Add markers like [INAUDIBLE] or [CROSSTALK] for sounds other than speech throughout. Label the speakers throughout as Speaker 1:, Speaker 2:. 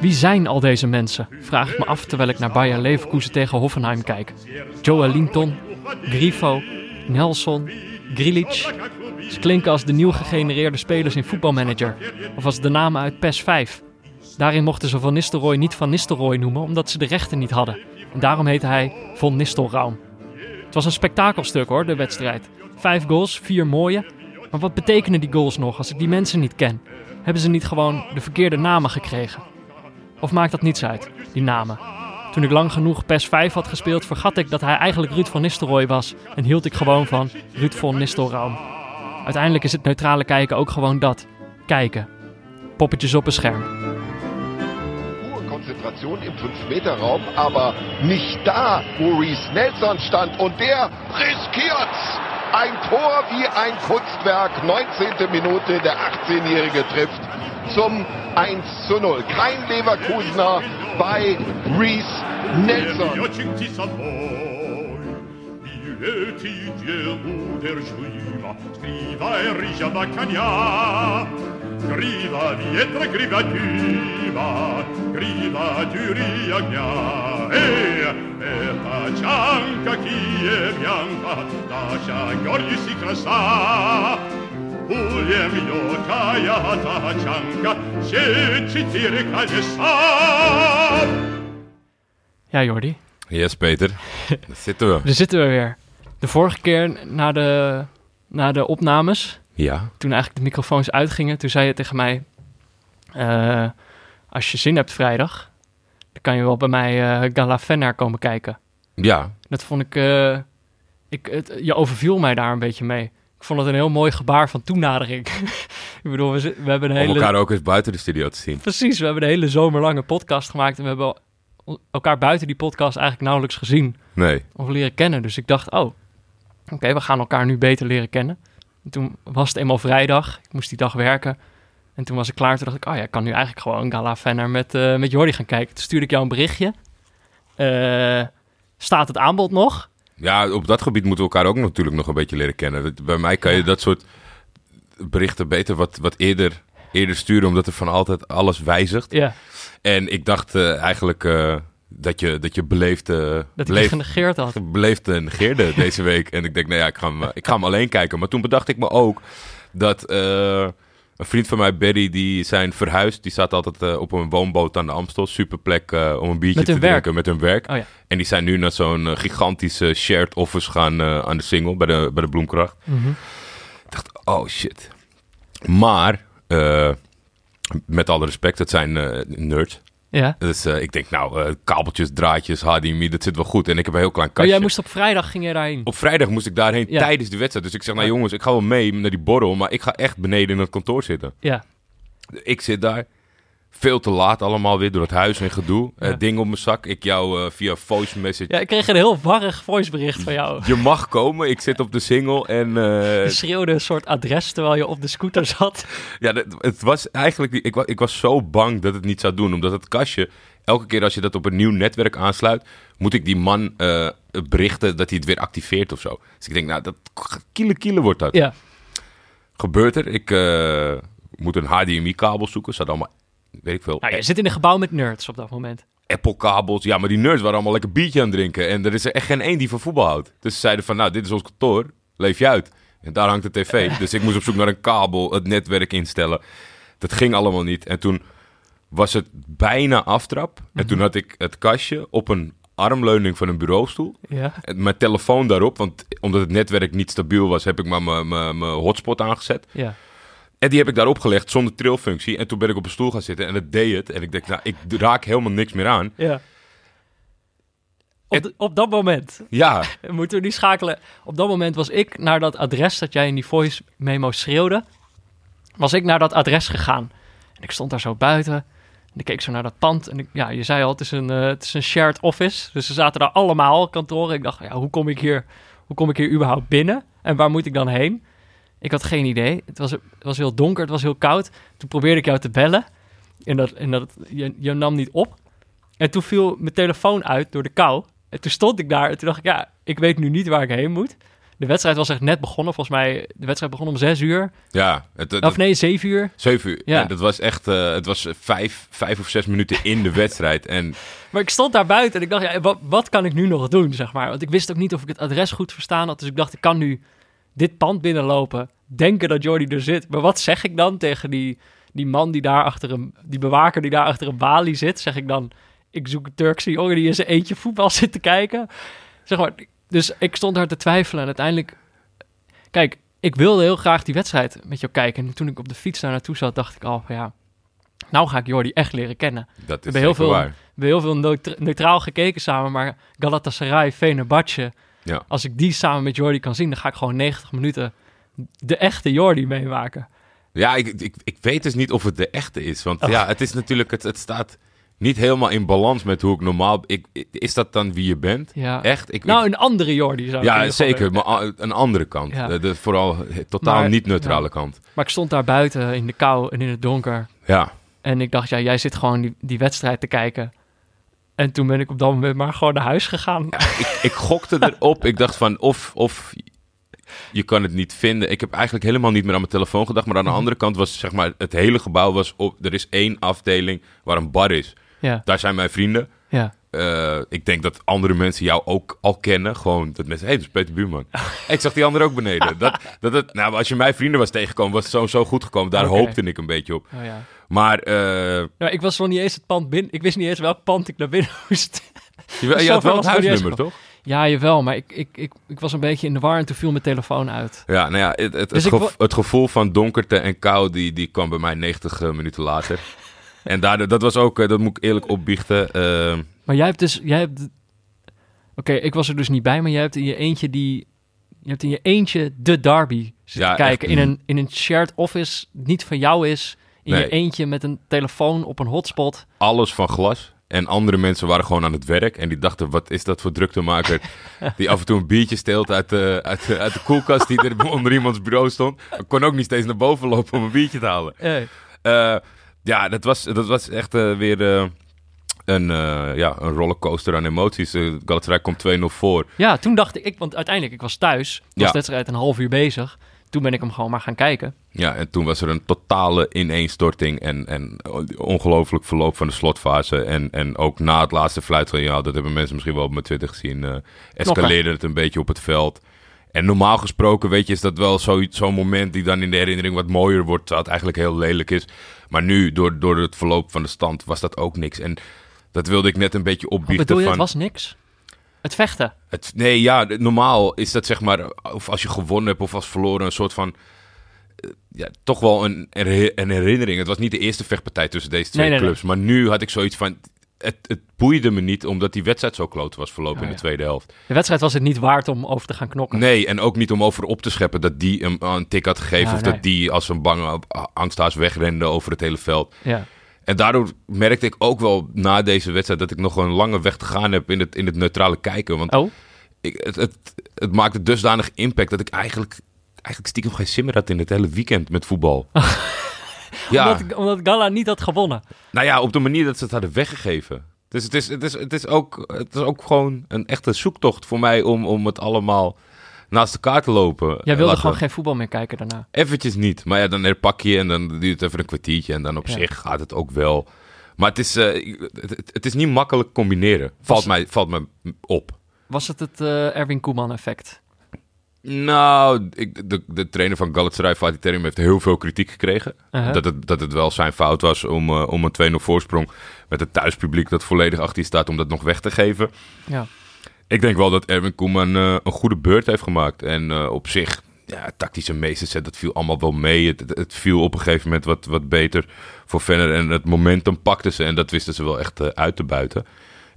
Speaker 1: Wie zijn al deze mensen? Vraag ik me af terwijl ik naar Bayer Leverkusen tegen Hoffenheim kijk. Joel Linton, Grifo, Nelson, Grilic. Ze klinken als de nieuw gegenereerde spelers in Voetbalmanager. Of als de namen uit PES 5. Daarin mochten ze Van Nistelrooy niet Van Nistelrooy noemen omdat ze de rechten niet hadden. En daarom heette hij Von Nistelraum. Het was een spektakelstuk hoor, de wedstrijd. Vijf goals, vier mooie. Maar wat betekenen die goals nog als ik die mensen niet ken? Hebben ze niet gewoon de verkeerde namen gekregen? Of maakt dat niets uit, die namen? Toen ik lang genoeg PES 5 had gespeeld, vergat ik dat hij eigenlijk Ruud van Nistelrooy was en hield ik gewoon van Ruud van Nistelraum. Uiteindelijk is het neutrale kijken ook gewoon dat: kijken. Poppetjes op een scherm.
Speaker 2: hohe Konzentration im 5-Meter-Raum, aber nicht da, wo Reece Nelson stand. Und der riskiert's. Ein Tor wie ein Kunstwerk. 19. Minute, der 18-Jährige trifft zum 1 zu 0. Kein Leverkusener bei Reece Nelson.
Speaker 3: Wiociek ci samoj i wielki idzie uderżliwa, skriwa i ryziana kania. Griwa wietra, griwa dziwa, griwa dziury jagnia. Ej, echa cianka kijewianka, Tasia gordzic i krasa. Uliem jakaja ta cianka, sieci tyrka nie sam.
Speaker 1: Ja, Jordi,
Speaker 4: Yes, Peter.
Speaker 1: [LAUGHS]
Speaker 4: Daar zitten we.
Speaker 1: daar zitten we weer. De vorige keer na de, na de opnames,
Speaker 4: Ja.
Speaker 1: toen eigenlijk de microfoons uitgingen, toen zei je tegen mij: eh, Als je zin hebt vrijdag, dan kan je wel bij mij eh Gala Fenner komen kijken.
Speaker 4: Ja.
Speaker 1: Dat vond ik. eh, ik het, je overviel mij daar een beetje mee. Ik vond het een heel mooi gebaar van toenadering. [LAUGHS] ik bedoel, we, zi- we hebben een
Speaker 4: Om
Speaker 1: hele.
Speaker 4: elkaar ook eens buiten de studio te zien.
Speaker 1: Precies, we hebben een hele zomerlange podcast gemaakt. En we hebben el- elkaar buiten die podcast eigenlijk nauwelijks gezien
Speaker 4: Nee.
Speaker 1: of leren kennen. Dus ik dacht, oh, oké, we gaan elkaar nu beter leren kennen. En toen was het eenmaal vrijdag. Ik moest die dag werken. En toen was ik klaar. Toen dacht ik, oh ja, ik kan nu eigenlijk gewoon Gala Fenner met, eh, met Jordi gaan kijken. Toen stuurde ik jou een berichtje. Eh, staat het aanbod nog?
Speaker 4: Ja, op dat gebied moeten we elkaar ook natuurlijk nog een beetje leren kennen. Dat- Bij mij kan je dat soort berichten beter wat, wat eerder, eerder sturen, omdat er van altijd alles wijzigt.
Speaker 1: Ja.
Speaker 4: En ik dacht eh, eigenlijk eh, dat je, dat je beleefde,
Speaker 1: Dat ik dus het
Speaker 4: beleefd,
Speaker 1: genegeerd had. Oh [LAUGHS]
Speaker 4: beleefde negeerde deze week. En ik denk, nou ja, ik ga, hem, eh, ik ga hem alleen kijken. Maar toen bedacht ik me ook dat eh, een vriend van mij, Barry, die zijn verhuisd. Die staat altijd eh, op een woonboot aan de Amstel. Super plek eh, om een biertje
Speaker 1: Met
Speaker 4: te
Speaker 1: hun werk.
Speaker 4: drinken met hun werk.
Speaker 1: Oh ja.
Speaker 4: En die zijn nu naar zo'n eh, gigantische shared office gaan eh, aan de single bij de, bij de Bloemkracht.
Speaker 1: Mhm.
Speaker 4: Ik dacht, oh shit. Maar, eh, met alle respect, het zijn eh, nerds.
Speaker 1: Ja.
Speaker 4: Dus eh, ik denk, nou, eh, kabeltjes, draadjes, HDMI, dat zit wel goed. En ik heb een heel klein
Speaker 1: Maar
Speaker 4: kastje.
Speaker 1: jij moest op vrijdag ging je daarheen.
Speaker 4: Op vrijdag moest ik daarheen
Speaker 1: Ja.
Speaker 4: tijdens de wedstrijd. Dus ik zeg, nou jongens, ik ga wel mee naar die borrel, maar ik ga echt beneden in het kantoor zitten.
Speaker 1: Ja.
Speaker 4: Ik zit daar. Veel te laat allemaal weer door het huis en gedoe. Eh, ding op mijn zak. Ik jou eh, via voice message.
Speaker 1: ja, ik kreeg een heel warrig voicebericht van jou.
Speaker 4: Je mag komen. Ik zit op de single. En eh,
Speaker 1: [LAUGHS] Je schreeuwde een soort adres terwijl je op de scooter zat.
Speaker 4: ja, dat- het was eigenlijk. die- Ik, wa- ik was zo bang dat het niet zou doen. Omdat het kastje. Elke keer als je dat op een nieuw netwerk aansluit. moet ik die man eh, berichten dat hij het weer activeert of zo. Dus ik denk, nou, dat kiele kiele wordt dat.
Speaker 1: Ja.
Speaker 4: gebeurt er. Ik eh, moet een HDMI-kabel zoeken. Ze hadden allemaal, weet ik veel,
Speaker 1: Nou, je zit in een gebouw met nerds op dat moment.
Speaker 4: Apple-kabels. Ja, maar die nerds waren allemaal lekker biertje aan het drinken. En er is er echt geen één die van voetbal houdt. Dus ze zeiden van, nou, dit is ons kantoor. Leef je uit. En daar hangt de tv. Dus ik moest op zoek naar een kabel, het netwerk instellen. Dat ging allemaal niet. En toen was het bijna aftrap. En toen had ik het kastje op een armleuning van een bureaustoel.
Speaker 1: Ja.
Speaker 4: En Mijn telefoon daarop, want omdat het netwerk niet stabiel was, heb ik maar mijn- mijn mijn hotspot aangezet.
Speaker 1: Ja.
Speaker 4: En die heb ik daarop gelegd zonder trilfunctie. En toen ben ik op een stoel gaan zitten en dat deed het. En ik dacht, nou, ik raak helemaal niks meer aan.
Speaker 1: ja. Op, de- op dat moment.
Speaker 4: Ja,
Speaker 1: [LAUGHS] Moeten we nu schakelen? Op dat moment was ik naar dat adres dat jij in die voice memo schreeuwde. Was ik naar dat adres gegaan. En ik stond daar zo buiten. En ik keek zo naar dat pand. En ik, ja, je zei al, het is, een, eh, het is een shared office. Dus ze zaten daar allemaal, kantoren. Ik dacht, ja, hoe kom ik hier, hoe kom ik hier überhaupt binnen? En waar moet ik dan heen? Ik had geen idee. Het was, het was heel donker, het was heel koud. Toen probeerde ik jou te bellen. En, dat, en dat, je, je nam niet op. En toen viel mijn telefoon uit door de kou. En toen stond ik daar. En toen dacht ik, ja, ik weet nu niet waar ik heen moet. De wedstrijd was echt net begonnen. Volgens mij, de wedstrijd begon om zes uur.
Speaker 4: Ja, het, het,
Speaker 1: Of nee, zeven uur.
Speaker 4: zeven uur.
Speaker 1: Ja.
Speaker 4: En dat was echt, eh, het was vijf, vijf of zes minuten in de wedstrijd. En
Speaker 1: Maar ik stond daar buiten en ik dacht, ja, wat, wat kan ik nu nog doen, zeg maar? Want ik wist ook niet of ik het adres goed verstaan had. Dus ik dacht, ik kan nu dit pand binnenlopen, denken dat Jordi er zit. Maar wat zeg ik dan tegen die, die man die daar achter een, die bewaker die daar achter een balie zit? Zeg ik dan, ik zoek een Turkse jongen die in zijn eentje voetbal [LAUGHS] zit te kijken. Zeg maar, dus ik stond daar te twijfelen en uiteindelijk... Kijk, ik wilde heel graag die wedstrijd met jou kijken. En toen ik op de fiets daar naartoe zat, dacht ik al van ja... Nou ga ik Jordi echt leren kennen.
Speaker 4: dat is
Speaker 1: hebben heel
Speaker 4: heel
Speaker 1: veel-
Speaker 4: waar.
Speaker 1: We hebben heel veel neutra- neutraal gekeken samen, maar Galatasaray, Fenerbahce.
Speaker 4: Ja.
Speaker 1: Als ik die samen met Jordi kan zien, dan ga ik gewoon 90 minuten de echte Jordi meemaken.
Speaker 4: Ja, ik, ik, ik weet dus niet of het de echte is. Want ja, het is natuurlijk, het, het staat niet helemaal in balans met hoe ik normaal... Ik, ik- is dat dan wie je bent?
Speaker 1: Ja.
Speaker 4: Echt? Ik,
Speaker 1: Nou, een andere Jordi zou ik in
Speaker 4: ja,
Speaker 1: ieder geval
Speaker 4: zeker.
Speaker 1: willen.
Speaker 4: Maar a- een andere kant.
Speaker 1: Ja.
Speaker 4: De, de vooral he- totaal
Speaker 1: Maar-
Speaker 4: niet-neutrale kant.
Speaker 1: Maar ik stond daar buiten in de kou en in het donker.
Speaker 4: Ja.
Speaker 1: En ik dacht, ja, jij zit gewoon die, die wedstrijd te kijken. En toen ben ik op dat moment maar gewoon naar huis gegaan.
Speaker 4: Ik, ik gokte erop. Ik dacht van of, of je kan het niet vinden. Ik heb eigenlijk helemaal niet meer aan mijn telefoon gedacht. Maar aan de andere kant was zeg maar het hele gebouw was op. Er is één afdeling waar een bar is.
Speaker 1: [LAUGHS] Ja,
Speaker 4: Daar zijn mijn vrienden.
Speaker 1: ja.
Speaker 4: Eh, ik denk dat andere mensen jou ook al kennen. Gewoon dat mensen. Hé, dat is Peter [LAUGHS] Buurman. Hey, ik zag die ander ook beneden. Dat, dat het, nou, als je mijn vrienden was tegengekomen, was het zo, zo goed gekomen. Daar
Speaker 1: Oké.
Speaker 4: hoopte ik een beetje op.
Speaker 1: Oh, ja.
Speaker 4: Maar eh,
Speaker 1: Nou, ik was nog niet eens het pand binnen. Ik wist niet eens welk pand ik naar binnen [LAUGHS] moest.
Speaker 4: je, je
Speaker 1: Zo
Speaker 4: had
Speaker 1: ver
Speaker 4: wel
Speaker 1: was
Speaker 4: het
Speaker 1: het niet
Speaker 4: huisnummer,
Speaker 1: eens
Speaker 4: toch?
Speaker 1: Ja, jawel, maar ik, ik, ik, ik was een beetje in de war en toen viel mijn telefoon uit.
Speaker 4: Ja, nou ja, het, het,
Speaker 1: Dus
Speaker 4: het,
Speaker 1: ik
Speaker 4: gevo-
Speaker 1: wa-
Speaker 4: het gevoel van donkerte en kou, die, die kwam bij mij 90 minuten later.
Speaker 1: [LAUGHS]
Speaker 4: en daardoor, dat was ook, eh, dat moet ik eerlijk opbiechten. eh,
Speaker 1: Maar jij hebt dus, jij hebt... Oké, ik was er dus niet bij, maar jij hebt in je eentje die... Je hebt in je eentje de derby zitten
Speaker 4: Ja,
Speaker 1: kijken.
Speaker 4: echt. Mhm.
Speaker 1: In een, in een shared office, niet van jou is. In je
Speaker 4: Nee.
Speaker 1: eentje met een telefoon op een hotspot.
Speaker 4: alles van glas. En andere mensen waren gewoon aan het werk. En die dachten, wat is dat
Speaker 1: [LAUGHS]
Speaker 4: voor druktemaker? Die af en toe een biertje steelt uit de, uit de, uit de koelkast die er [LAUGHS] onder iemands bureau stond. Ik kon ook niet steeds naar boven lopen om een biertje te halen. Eh, ja, dat was, dat was echt eh, weer eh, een, eh, ja, een rollercoaster aan emoties. Eh, Galatasaray komt 2-0 voor.
Speaker 1: Ja, toen dacht ik, ik, want uiteindelijk, ik was thuis. Was
Speaker 4: Ja.
Speaker 1: de wedstrijd een half uur bezig. Toen ben ik hem gewoon maar gaan kijken.
Speaker 4: Ja, en toen was er een totale ineenstorting en, en ongelooflijk verloop van de slotfase. En, en ook na het laatste fluitsignaal, dat hebben mensen misschien wel op mijn Twitter gezien, eh, escaleerde het een beetje op het veld. En normaal gesproken, weet je, is dat wel zo- zo'n moment die dan in de herinnering wat mooier wordt, terwijl het eigenlijk heel lelijk is. Maar nu, door, door het verloop van de stand, was dat ook niks. En dat wilde ik net een beetje
Speaker 1: Wat
Speaker 4: opbiechten
Speaker 1: bedoel je,
Speaker 4: van...
Speaker 1: het was niks. Het vechten.
Speaker 4: Het, nee, ja, d- normaal is dat zeg maar, of als je gewonnen hebt of als verloren, een soort van, eh, ja, toch wel een, her- een herinnering. Het was niet de eerste vechtpartij tussen deze twee
Speaker 1: Nee, nee,
Speaker 4: clubs, maar nu had ik zoiets van, het, het boeide me niet omdat die wedstrijd zo kloot was verlopen
Speaker 1: Oh,
Speaker 4: in de
Speaker 1: ja.
Speaker 4: tweede helft.
Speaker 1: De wedstrijd was het niet waard om over te gaan knokken.
Speaker 4: Nee, en ook niet om over op te scheppen dat die hem een tik had gegeven
Speaker 1: Ja,
Speaker 4: of
Speaker 1: nee.
Speaker 4: dat die als een bange a- angsthaas wegrende over het hele veld.
Speaker 1: Ja.
Speaker 4: En daardoor merkte ik ook wel na deze wedstrijd dat ik nog een lange weg te gaan heb in het, in het neutrale kijken. Want
Speaker 1: Oh,
Speaker 4: ik, het, het, het maakte dusdanig impact dat ik eigenlijk, eigenlijk stiekem geen zin meer had in het hele weekend
Speaker 1: [LAUGHS]
Speaker 4: met voetbal. ja,
Speaker 1: omdat, omdat Gala niet had gewonnen.
Speaker 4: nou ja, op de manier dat ze het hadden weggegeven. Dus het is, het is, het is, ook, het is ook gewoon een echte zoektocht voor mij om, om het allemaal naast elkaar te lopen.
Speaker 1: Jij wilde
Speaker 4: Laten we-
Speaker 1: gewoon geen voetbal meer kijken daarna.
Speaker 4: Eventjes niet. Maar ja, dan herpak je en dan duurt het even een kwartiertje. En dan op
Speaker 1: Ja.
Speaker 4: zich gaat het ook wel. Maar het is, eh, ik- het, het- het is niet makkelijk combineren. Valt,
Speaker 1: Was-
Speaker 4: mij, valt mij op.
Speaker 1: Was het het eh, Erwin Koeman effect?
Speaker 4: Nou, ik, de, de trainer van Galatasaray, Fatih Terim, heeft heel veel kritiek gekregen.
Speaker 1: Uh-huh.
Speaker 4: dat, het, dat het wel zijn fout was om, eh, om een 2-0 voorsprong met het thuispubliek dat volledig achter je staat, om dat nog weg te geven.
Speaker 1: Ja.
Speaker 4: Ik denk wel dat Erwin Koeman eh, een goede beurt heeft gemaakt. En eh, op zich, ja, tactische meesterzet, dat viel allemaal wel mee. Het, het, het viel op een gegeven moment wat, wat beter voor Venner. En het momentum pakte ze en dat wisten ze wel echt eh, uit te buiten.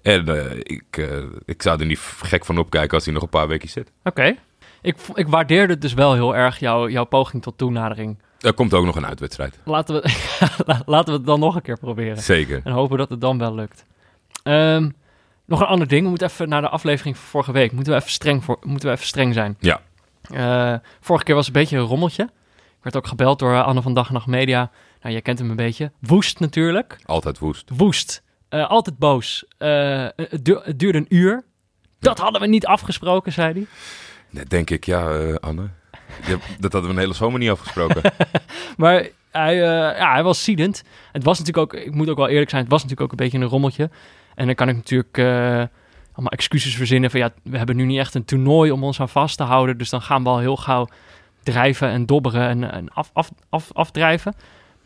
Speaker 4: En eh, ik, eh, ik zou er niet gek van opkijken als hij nog een paar weken zit.
Speaker 1: Oké. Ik, vo- ik waardeerde dus wel heel erg jouw jouw poging tot toenadering.
Speaker 4: Er komt ook nog een uitwedstrijd.
Speaker 1: Laten we, [LAUGHS] la- laten we het dan nog een keer proberen.
Speaker 4: Zeker.
Speaker 1: En hopen dat het dan wel lukt. Ehm, nog een ander ding. We moeten even naar de aflevering van vorige week. Moeten we even streng, voor, moeten we even streng zijn.
Speaker 4: Ja.
Speaker 1: Eh, vorige keer was het een beetje een rommeltje. Ik werd ook gebeld door eh, Anne van Dag en Nacht Media. Nou, jij kent hem een beetje. Woest natuurlijk.
Speaker 4: Altijd woest.
Speaker 1: woest, eh, altijd boos. Eh, het, du- het duurde een uur. Dat hadden we niet afgesproken, zei hij.
Speaker 4: Net denk ik, ja, eh, Anne. je hebt- dat hadden we een hele zomer niet afgesproken.
Speaker 1: Maar hij, eh, ja, hij was ziedend. Het was natuurlijk ook, ik moet ook wel eerlijk zijn, het was natuurlijk ook een beetje een rommeltje. En dan kan ik natuurlijk eh, allemaal excuses verzinnen van ja, we hebben nu niet echt een toernooi om ons aan vast te houden. Dus dan gaan we al heel gauw drijven en dobberen en, en af, af, af, afdrijven.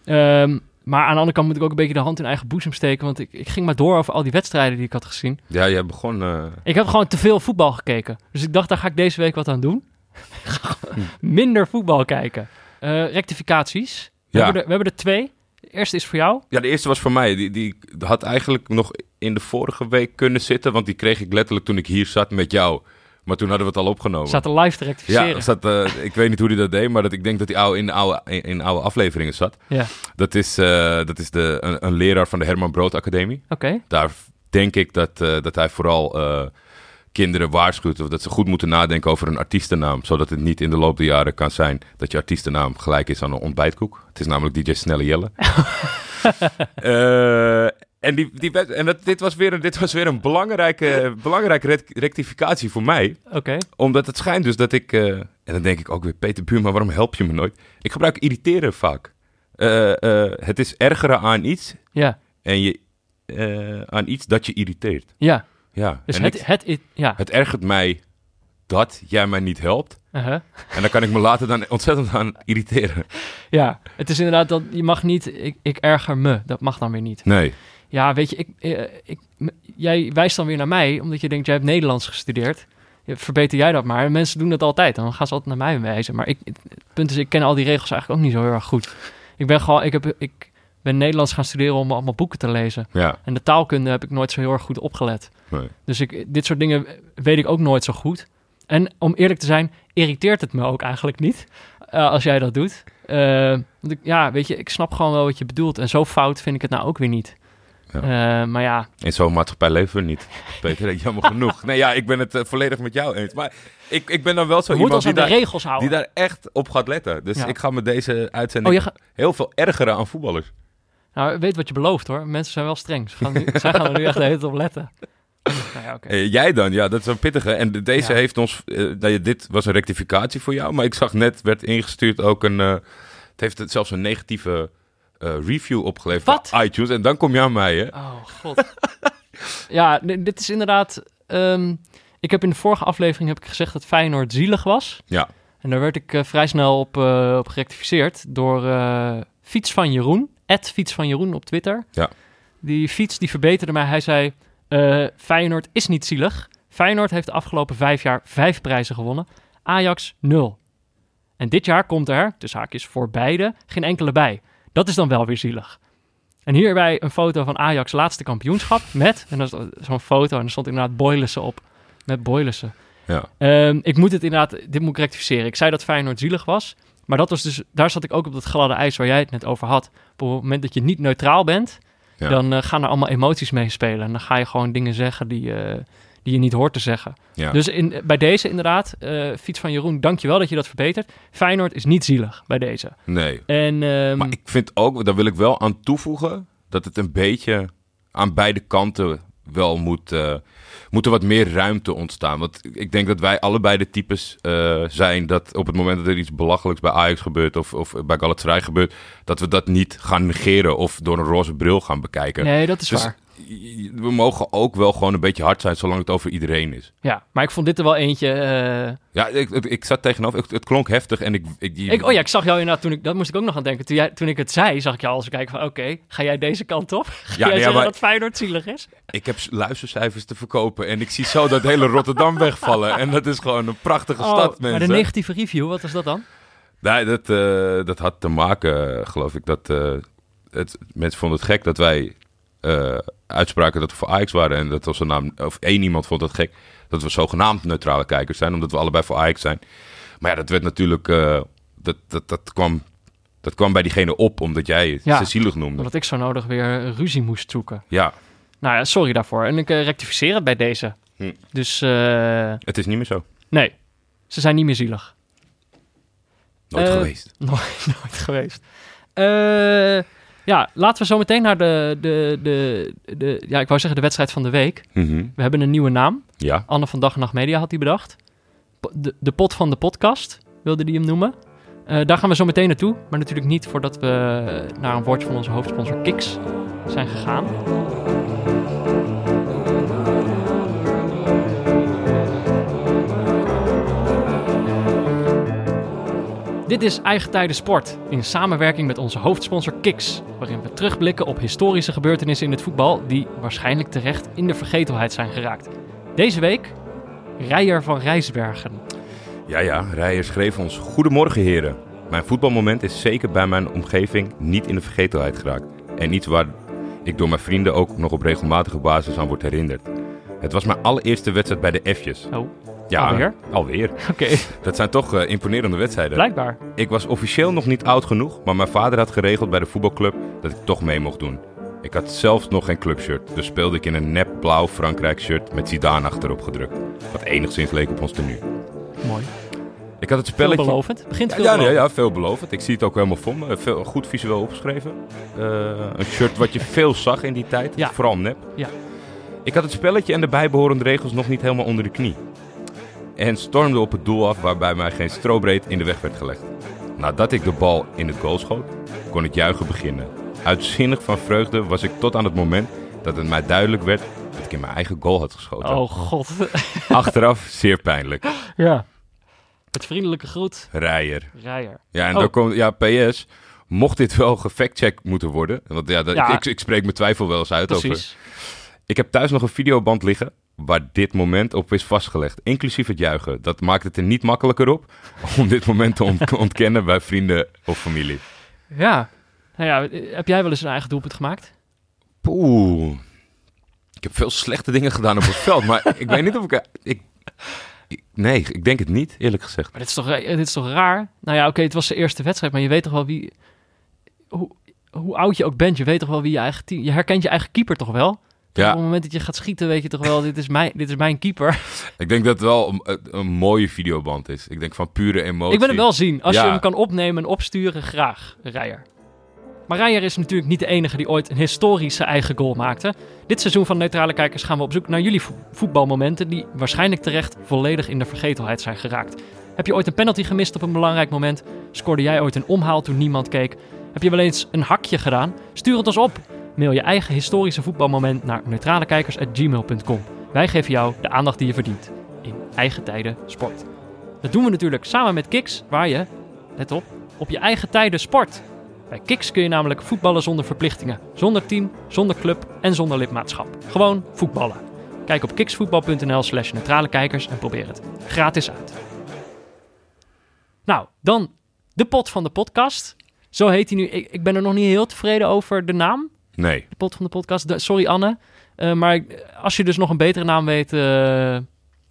Speaker 1: Ehm, maar aan de andere kant moet ik ook een beetje de hand in eigen boezem steken. Want ik, ik ging maar door over al die wedstrijden die ik had gezien.
Speaker 4: ja, jij begon... eh,
Speaker 1: Ik heb gewoon te veel voetbal gekeken. Dus ik dacht, daar ga ik deze week wat aan doen. [LAUGHS] Ik ga
Speaker 4: Hm.
Speaker 1: gewoon Minder voetbal kijken. Eh, rectificaties. We,
Speaker 4: Ja. Oh.
Speaker 1: hebben er, we hebben er twee. De eerste is voor jou.
Speaker 4: Ja, de eerste was voor mij. Die, die had eigenlijk nog in de vorige week kunnen zitten. Want die kreeg ik letterlijk toen ik hier zat met jou. Maar toen hadden we het al opgenomen.
Speaker 1: We zaten live te rectificeren.
Speaker 4: ja, er zat, eh, ik weet niet hoe die dat deed, maar dat, ik denk dat hij oude, in, oude, in, in oude afleveringen zat.
Speaker 1: Ja.
Speaker 4: Dat is, eh, dat is de, een, een leraar van de Herman Brood Academie.
Speaker 1: Oké.
Speaker 4: Daar denk ik dat, eh, dat hij vooral eh, kinderen waarschuwt. Of dat ze goed moeten nadenken over een artiestennaam. Zodat het niet in de loop der jaren kan zijn dat je artiestennaam gelijk is aan een ontbijtkoek. Het is namelijk DJ Snelle Jelle. Eh, en die, die, wed- en dat, dit was weer een, dit was weer een belangrijke, belangrijke rect- rectificatie voor mij.
Speaker 1: Oké.
Speaker 4: Omdat het schijnt dus dat ik... eh, en dan denk ik ook weer, Peter Buurman, waarom help je me nooit? Ik gebruik irriteren vaak. Eh, eh, het is ergeren aan iets
Speaker 1: Ja.
Speaker 4: en je, eh, aan iets dat je irriteert.
Speaker 1: Ja.
Speaker 4: Ja,
Speaker 1: Dus
Speaker 4: en
Speaker 1: het,
Speaker 4: ik-
Speaker 1: het, i- ja.
Speaker 4: het ergert mij dat jij mij niet helpt.
Speaker 1: Uh-huh.
Speaker 4: En daar kan ik me later dan ontzettend aan irriteren.
Speaker 1: ja. Het is inderdaad dat je mag niet. Ik, ik erger me. Dat mag dan weer niet.
Speaker 4: Nee.
Speaker 1: Ja, weet je, ik, eh, ik, m- jij wijst dan weer naar mij, omdat je denkt, jij hebt Nederlands gestudeerd. Ja, Verbeter jij dat maar. En mensen doen dat altijd. Dan gaan ze altijd naar mij wijzen. Maar ik, het het punt is, ik ken al die regels eigenlijk ook niet zo heel erg goed. Ik ben gewoon, ik, heb, ik ben Nederlands gaan studeren om allemaal boeken te lezen.
Speaker 4: Ja.
Speaker 1: En de taalkunde heb ik nooit zo heel erg goed opgelet.
Speaker 4: Nee.
Speaker 1: Dus ik, dit soort dingen weet ik ook nooit zo goed. En om eerlijk te zijn, irriteert het me ook eigenlijk niet eh, als jij dat doet. Eh, want ik, ja, weet je, ik snap gewoon wel wat je bedoelt. En zo fout vind ik het nou ook weer niet.
Speaker 4: Ja.
Speaker 1: Eh, maar ja,
Speaker 4: In zo'n maatschappij leven we niet. Peter, jammer genoeg. Nee, ja, ik ben het eh, volledig met jou eens. Maar ik, ik ben dan wel zo
Speaker 1: we moeten
Speaker 4: iemand
Speaker 1: ons
Speaker 4: die
Speaker 1: aan de
Speaker 4: daar,
Speaker 1: regels houden.
Speaker 4: die daar echt op gaat letten. Dus
Speaker 1: Ja.
Speaker 4: ik ga me deze
Speaker 1: Oh,
Speaker 4: uitzending
Speaker 1: je ga-
Speaker 4: heel veel ergeren aan voetballers.
Speaker 1: nou, weet wat je belooft hoor. Mensen zijn wel streng. Ze gaan, nu, zij gaan er nu echt de hele tijd op
Speaker 4: [LAUGHS]
Speaker 1: letten. Nou ja, oké.
Speaker 4: Eh, jij dan, ja, dat is een pittige. En de- deze
Speaker 1: Ja.
Speaker 4: heeft ons. eh, nou ja, dit was een rectificatie voor jou. Maar ik zag net, werd ingestuurd ook een. eh, het heeft het zelfs een negatieve eh, review opgeleverd.
Speaker 1: Wat?
Speaker 4: op iTunes. En dan kom je aan mij, hè?
Speaker 1: Oh, god. [LAUGHS] ja, nee, dit is inderdaad... ehm, ik heb in de vorige aflevering heb ik gezegd dat Feyenoord zielig was.
Speaker 4: Ja.
Speaker 1: En daar werd ik eh, vrij snel op, eh, op gerectificeerd door eh, Fiets van Jeroen. At Fiets van Jeroen op Twitter.
Speaker 4: Ja.
Speaker 1: Die Fiets die verbeterde mij. Hij zei, eh, Feyenoord is niet zielig. Feyenoord heeft de afgelopen vijf jaar vijf prijzen gewonnen. Ajax nul. En dit jaar komt er, tussen haakjes voor beide, geen enkele bij. Dat is dan wel weer zielig. En hierbij een foto van Ajax laatste kampioenschap met, en dat is zo'n foto, en er stond inderdaad Boylissen op. Met Boylissen.
Speaker 4: Ja.
Speaker 1: Ehm, ik moet het inderdaad, dit moet ik rectificeren. Ik zei dat Feyenoord zielig was, maar dat was dus, daar zat ik ook op dat gladde ijs waar jij het net over had. Op het moment dat je niet neutraal bent,
Speaker 4: Ja.
Speaker 1: dan eh, gaan er allemaal emoties mee spelen. En dan ga je gewoon dingen zeggen die, eh, die je niet hoort te zeggen.
Speaker 4: Ja.
Speaker 1: Dus in, bij deze inderdaad, eh, Fiets van Jeroen, dankjewel dat je dat verbetert. Feyenoord is niet zielig bij deze.
Speaker 4: Nee.
Speaker 1: En ehm,
Speaker 4: Maar ik vind ook, daar wil ik wel aan toevoegen, dat het een beetje aan beide kanten wel moet, eh, moet er wat meer ruimte ontstaan. Want ik denk dat wij allebei de types eh, zijn dat op het moment dat er iets belachelijks bij Ajax gebeurt of, of bij Galatasaray gebeurt, dat we dat niet gaan negeren of door een roze bril gaan bekijken.
Speaker 1: nee, dat is
Speaker 4: Dus
Speaker 1: waar.
Speaker 4: j- we mogen ook wel gewoon een beetje hard zijn zolang het over iedereen is.
Speaker 1: Ja, maar ik vond dit er wel eentje. eh,
Speaker 4: Ja, ik, ik, ik zat tegenover, het, het klonk heftig en ik... ik,
Speaker 1: Ik, oh ja, ik zag jou inderdaad toen ik, dat moest ik ook nog aan denken. Toen, jij, toen ik het zei, zag ik jou al zo kijken van, oké, ga jij deze kant [LAUGHS] op? Ga jij
Speaker 4: nee, ja,
Speaker 1: zeggen
Speaker 4: maar-
Speaker 1: dat Feyenoord zielig is?
Speaker 4: Ik heb s- luistercijfers te verkopen en ik zie zo dat hele
Speaker 1: [LAUGHS]
Speaker 4: Rotterdam wegvallen. En dat is gewoon een prachtige stad,
Speaker 1: Oh, maar de
Speaker 4: mensen.
Speaker 1: negatieve review, wat is dat dan?
Speaker 4: Nee, dat, eh, dat had te maken, eh, geloof ik, dat eh, het, mensen vonden het gek dat wij eh, uitspraken dat we voor Ajax waren. En dat onze naam, of één iemand vond het gek, dat we zogenaamd neutrale kijkers zijn, omdat we allebei voor Ajax zijn. Maar ja, dat werd natuurlijk, eh, dat, dat, dat, kwam, dat kwam bij diegene op, omdat jij het
Speaker 1: Ja.
Speaker 4: ze zielig noemde.
Speaker 1: Omdat ik zo nodig weer ruzie moest zoeken.
Speaker 4: Ja,
Speaker 1: Nou ja, sorry daarvoor. En ik eh, rectificeer het bij deze.
Speaker 4: Hm.
Speaker 1: Dus eh,
Speaker 4: het is niet meer zo.
Speaker 1: nee, ze zijn niet meer zielig. [LAUGHS]
Speaker 4: Nooit
Speaker 1: Eh,
Speaker 4: geweest.
Speaker 1: Nooit, nooit geweest. Eh, ja, laten we zo meteen naar de, de, de, de, ja, ik wou zeggen de wedstrijd van de week.
Speaker 4: Mhm.
Speaker 1: We hebben een nieuwe naam.
Speaker 4: Ja.
Speaker 1: Anne van Dag en Nacht Media had die bedacht. po- de, de pot van de podcast, wilde die hem noemen. Eh, daar gaan we zo meteen naartoe. Maar natuurlijk niet voordat we eh, naar een woordje van onze hoofdsponsor Kiks zijn gegaan. Dit is Eigen Tijden Sport in samenwerking met onze hoofdsponsor Kiks, waarin we terugblikken op historische gebeurtenissen in het voetbal die waarschijnlijk terecht in de vergetelheid zijn geraakt. Deze week Rijer van Rijsbergen.
Speaker 4: Ja, ja, Rijer schreef ons: Goedemorgen, heren. Mijn voetbalmoment is zeker bij mijn omgeving niet in de vergetelheid geraakt. En iets waar ik door mijn vrienden ook nog op regelmatige basis aan word herinnerd. Het was mijn allereerste wedstrijd bij de F'jes.
Speaker 1: Oh,
Speaker 4: Ja,
Speaker 1: Alweer?
Speaker 4: Alweer.
Speaker 1: [LAUGHS] oké,
Speaker 4: Dat zijn toch eh, imponerende wedstrijden.
Speaker 1: blijkbaar.
Speaker 4: Ik was officieel nog niet oud genoeg, maar mijn vader had geregeld bij de voetbalclub dat ik toch mee mocht doen. Ik had zelfs nog geen clubshirt, dus speelde ik in een nep blauw Frankrijk shirt met Zidane achterop gedrukt. Wat enigszins leek op ons tenue.
Speaker 1: Mooi.
Speaker 4: Ik had het spelletje...
Speaker 1: Veelbelovend. Begint
Speaker 4: Ja, ja,
Speaker 1: veelbelovend.
Speaker 4: nee, ja, veelbelovend. Ik zie het ook helemaal voor me. Eh, Veel, goed visueel opgeschreven. Eh, een shirt wat je veel zag in die tijd.
Speaker 1: Ja.
Speaker 4: Vooral nep.
Speaker 1: Ja.
Speaker 4: Ik had het spelletje en de bijbehorende regels nog niet helemaal onder de knie. En stormde op het doel af waarbij mij geen strobreed in de weg werd gelegd. Nadat ik de bal in het goal schoot, kon ik juichen beginnen. Uitzinnig van vreugde was ik tot aan het moment dat het mij duidelijk werd dat ik in mijn eigen goal had geschoten.
Speaker 1: Oh god. [LAUGHS]
Speaker 4: Achteraf zeer pijnlijk.
Speaker 1: ja. Het vriendelijke groet,
Speaker 4: Rijer.
Speaker 1: Rijer.
Speaker 4: Ja, en
Speaker 1: Oh.
Speaker 4: dan komt, ja, PS. Mocht dit wel gefactcheckt moeten worden, want ja, dat,
Speaker 1: Ja.
Speaker 4: Ik, ik spreek mijn twijfel wel eens uit over.
Speaker 1: Precies.
Speaker 4: Ik heb thuis nog een videoband liggen waar dit moment op is vastgelegd, inclusief het juichen. Dat maakt het er niet makkelijker op [LAUGHS] om dit moment te ont- ontkennen bij vrienden of familie.
Speaker 1: Ja. Nou ja, heb jij wel eens een eigen doelpunt gemaakt?
Speaker 4: Poeh. Ik heb veel slechte dingen gedaan op het veld, maar ik weet niet of ik, eh, ik... ik- Nee, ik denk het niet, eerlijk gezegd.
Speaker 1: Maar dit is toch, eh, dit is toch raar? Nou ja, oké, het was de eerste wedstrijd, maar je weet toch wel wie... Hoe, hoe oud je ook bent, je weet toch wel wie je eigen team... Je herkent je eigen keeper toch wel? Op het
Speaker 4: Ja,
Speaker 1: moment dat je gaat schieten, weet je toch wel, dit is mijn, dit is mijn keeper.
Speaker 4: ik denk dat het wel een, een- een mooie videoband is. Ik denk van pure emotie.
Speaker 1: [LAUGHS] Ik wil hem wel zien. Als je
Speaker 4: Ja.
Speaker 1: hem kan opnemen en opsturen, graag, Rijer. Maar Rijer is natuurlijk niet de enige die ooit een historische eigen goal maakte. Dit seizoen van Neutrale Kijkers gaan we op zoek naar jullie vo- voetbalmomenten... die waarschijnlijk terecht volledig in de vergetelheid zijn geraakt. Heb je ooit een penalty gemist op een belangrijk moment? Scoorde jij ooit een omhaal toen niemand keek? Heb je wel eens een hakje gedaan? Stuur het ons op. Mail je eigen historische voetbalmoment naar neutralekijkers.gmail.com. Wij geven jou de aandacht die je verdient. In eigen tijden sport. Dat doen we natuurlijk samen met Kiks, waar je, let op, op je eigen tijden sport. Bij Kiks kun je namelijk voetballen zonder verplichtingen. Zonder team, zonder club en zonder lidmaatschap. Gewoon voetballen. Kijk op kiksvoetbal.nl slash neutrale kijkers en probeer het gratis uit. Nou, dan de pot van de podcast. Zo heet hij nu. Ik, ik ben er nog niet heel tevreden over de naam,
Speaker 4: Nee.
Speaker 1: de pot van de podcast. Da- sorry Anne. Eh, maar ik- als je dus nog een betere naam weet, eh,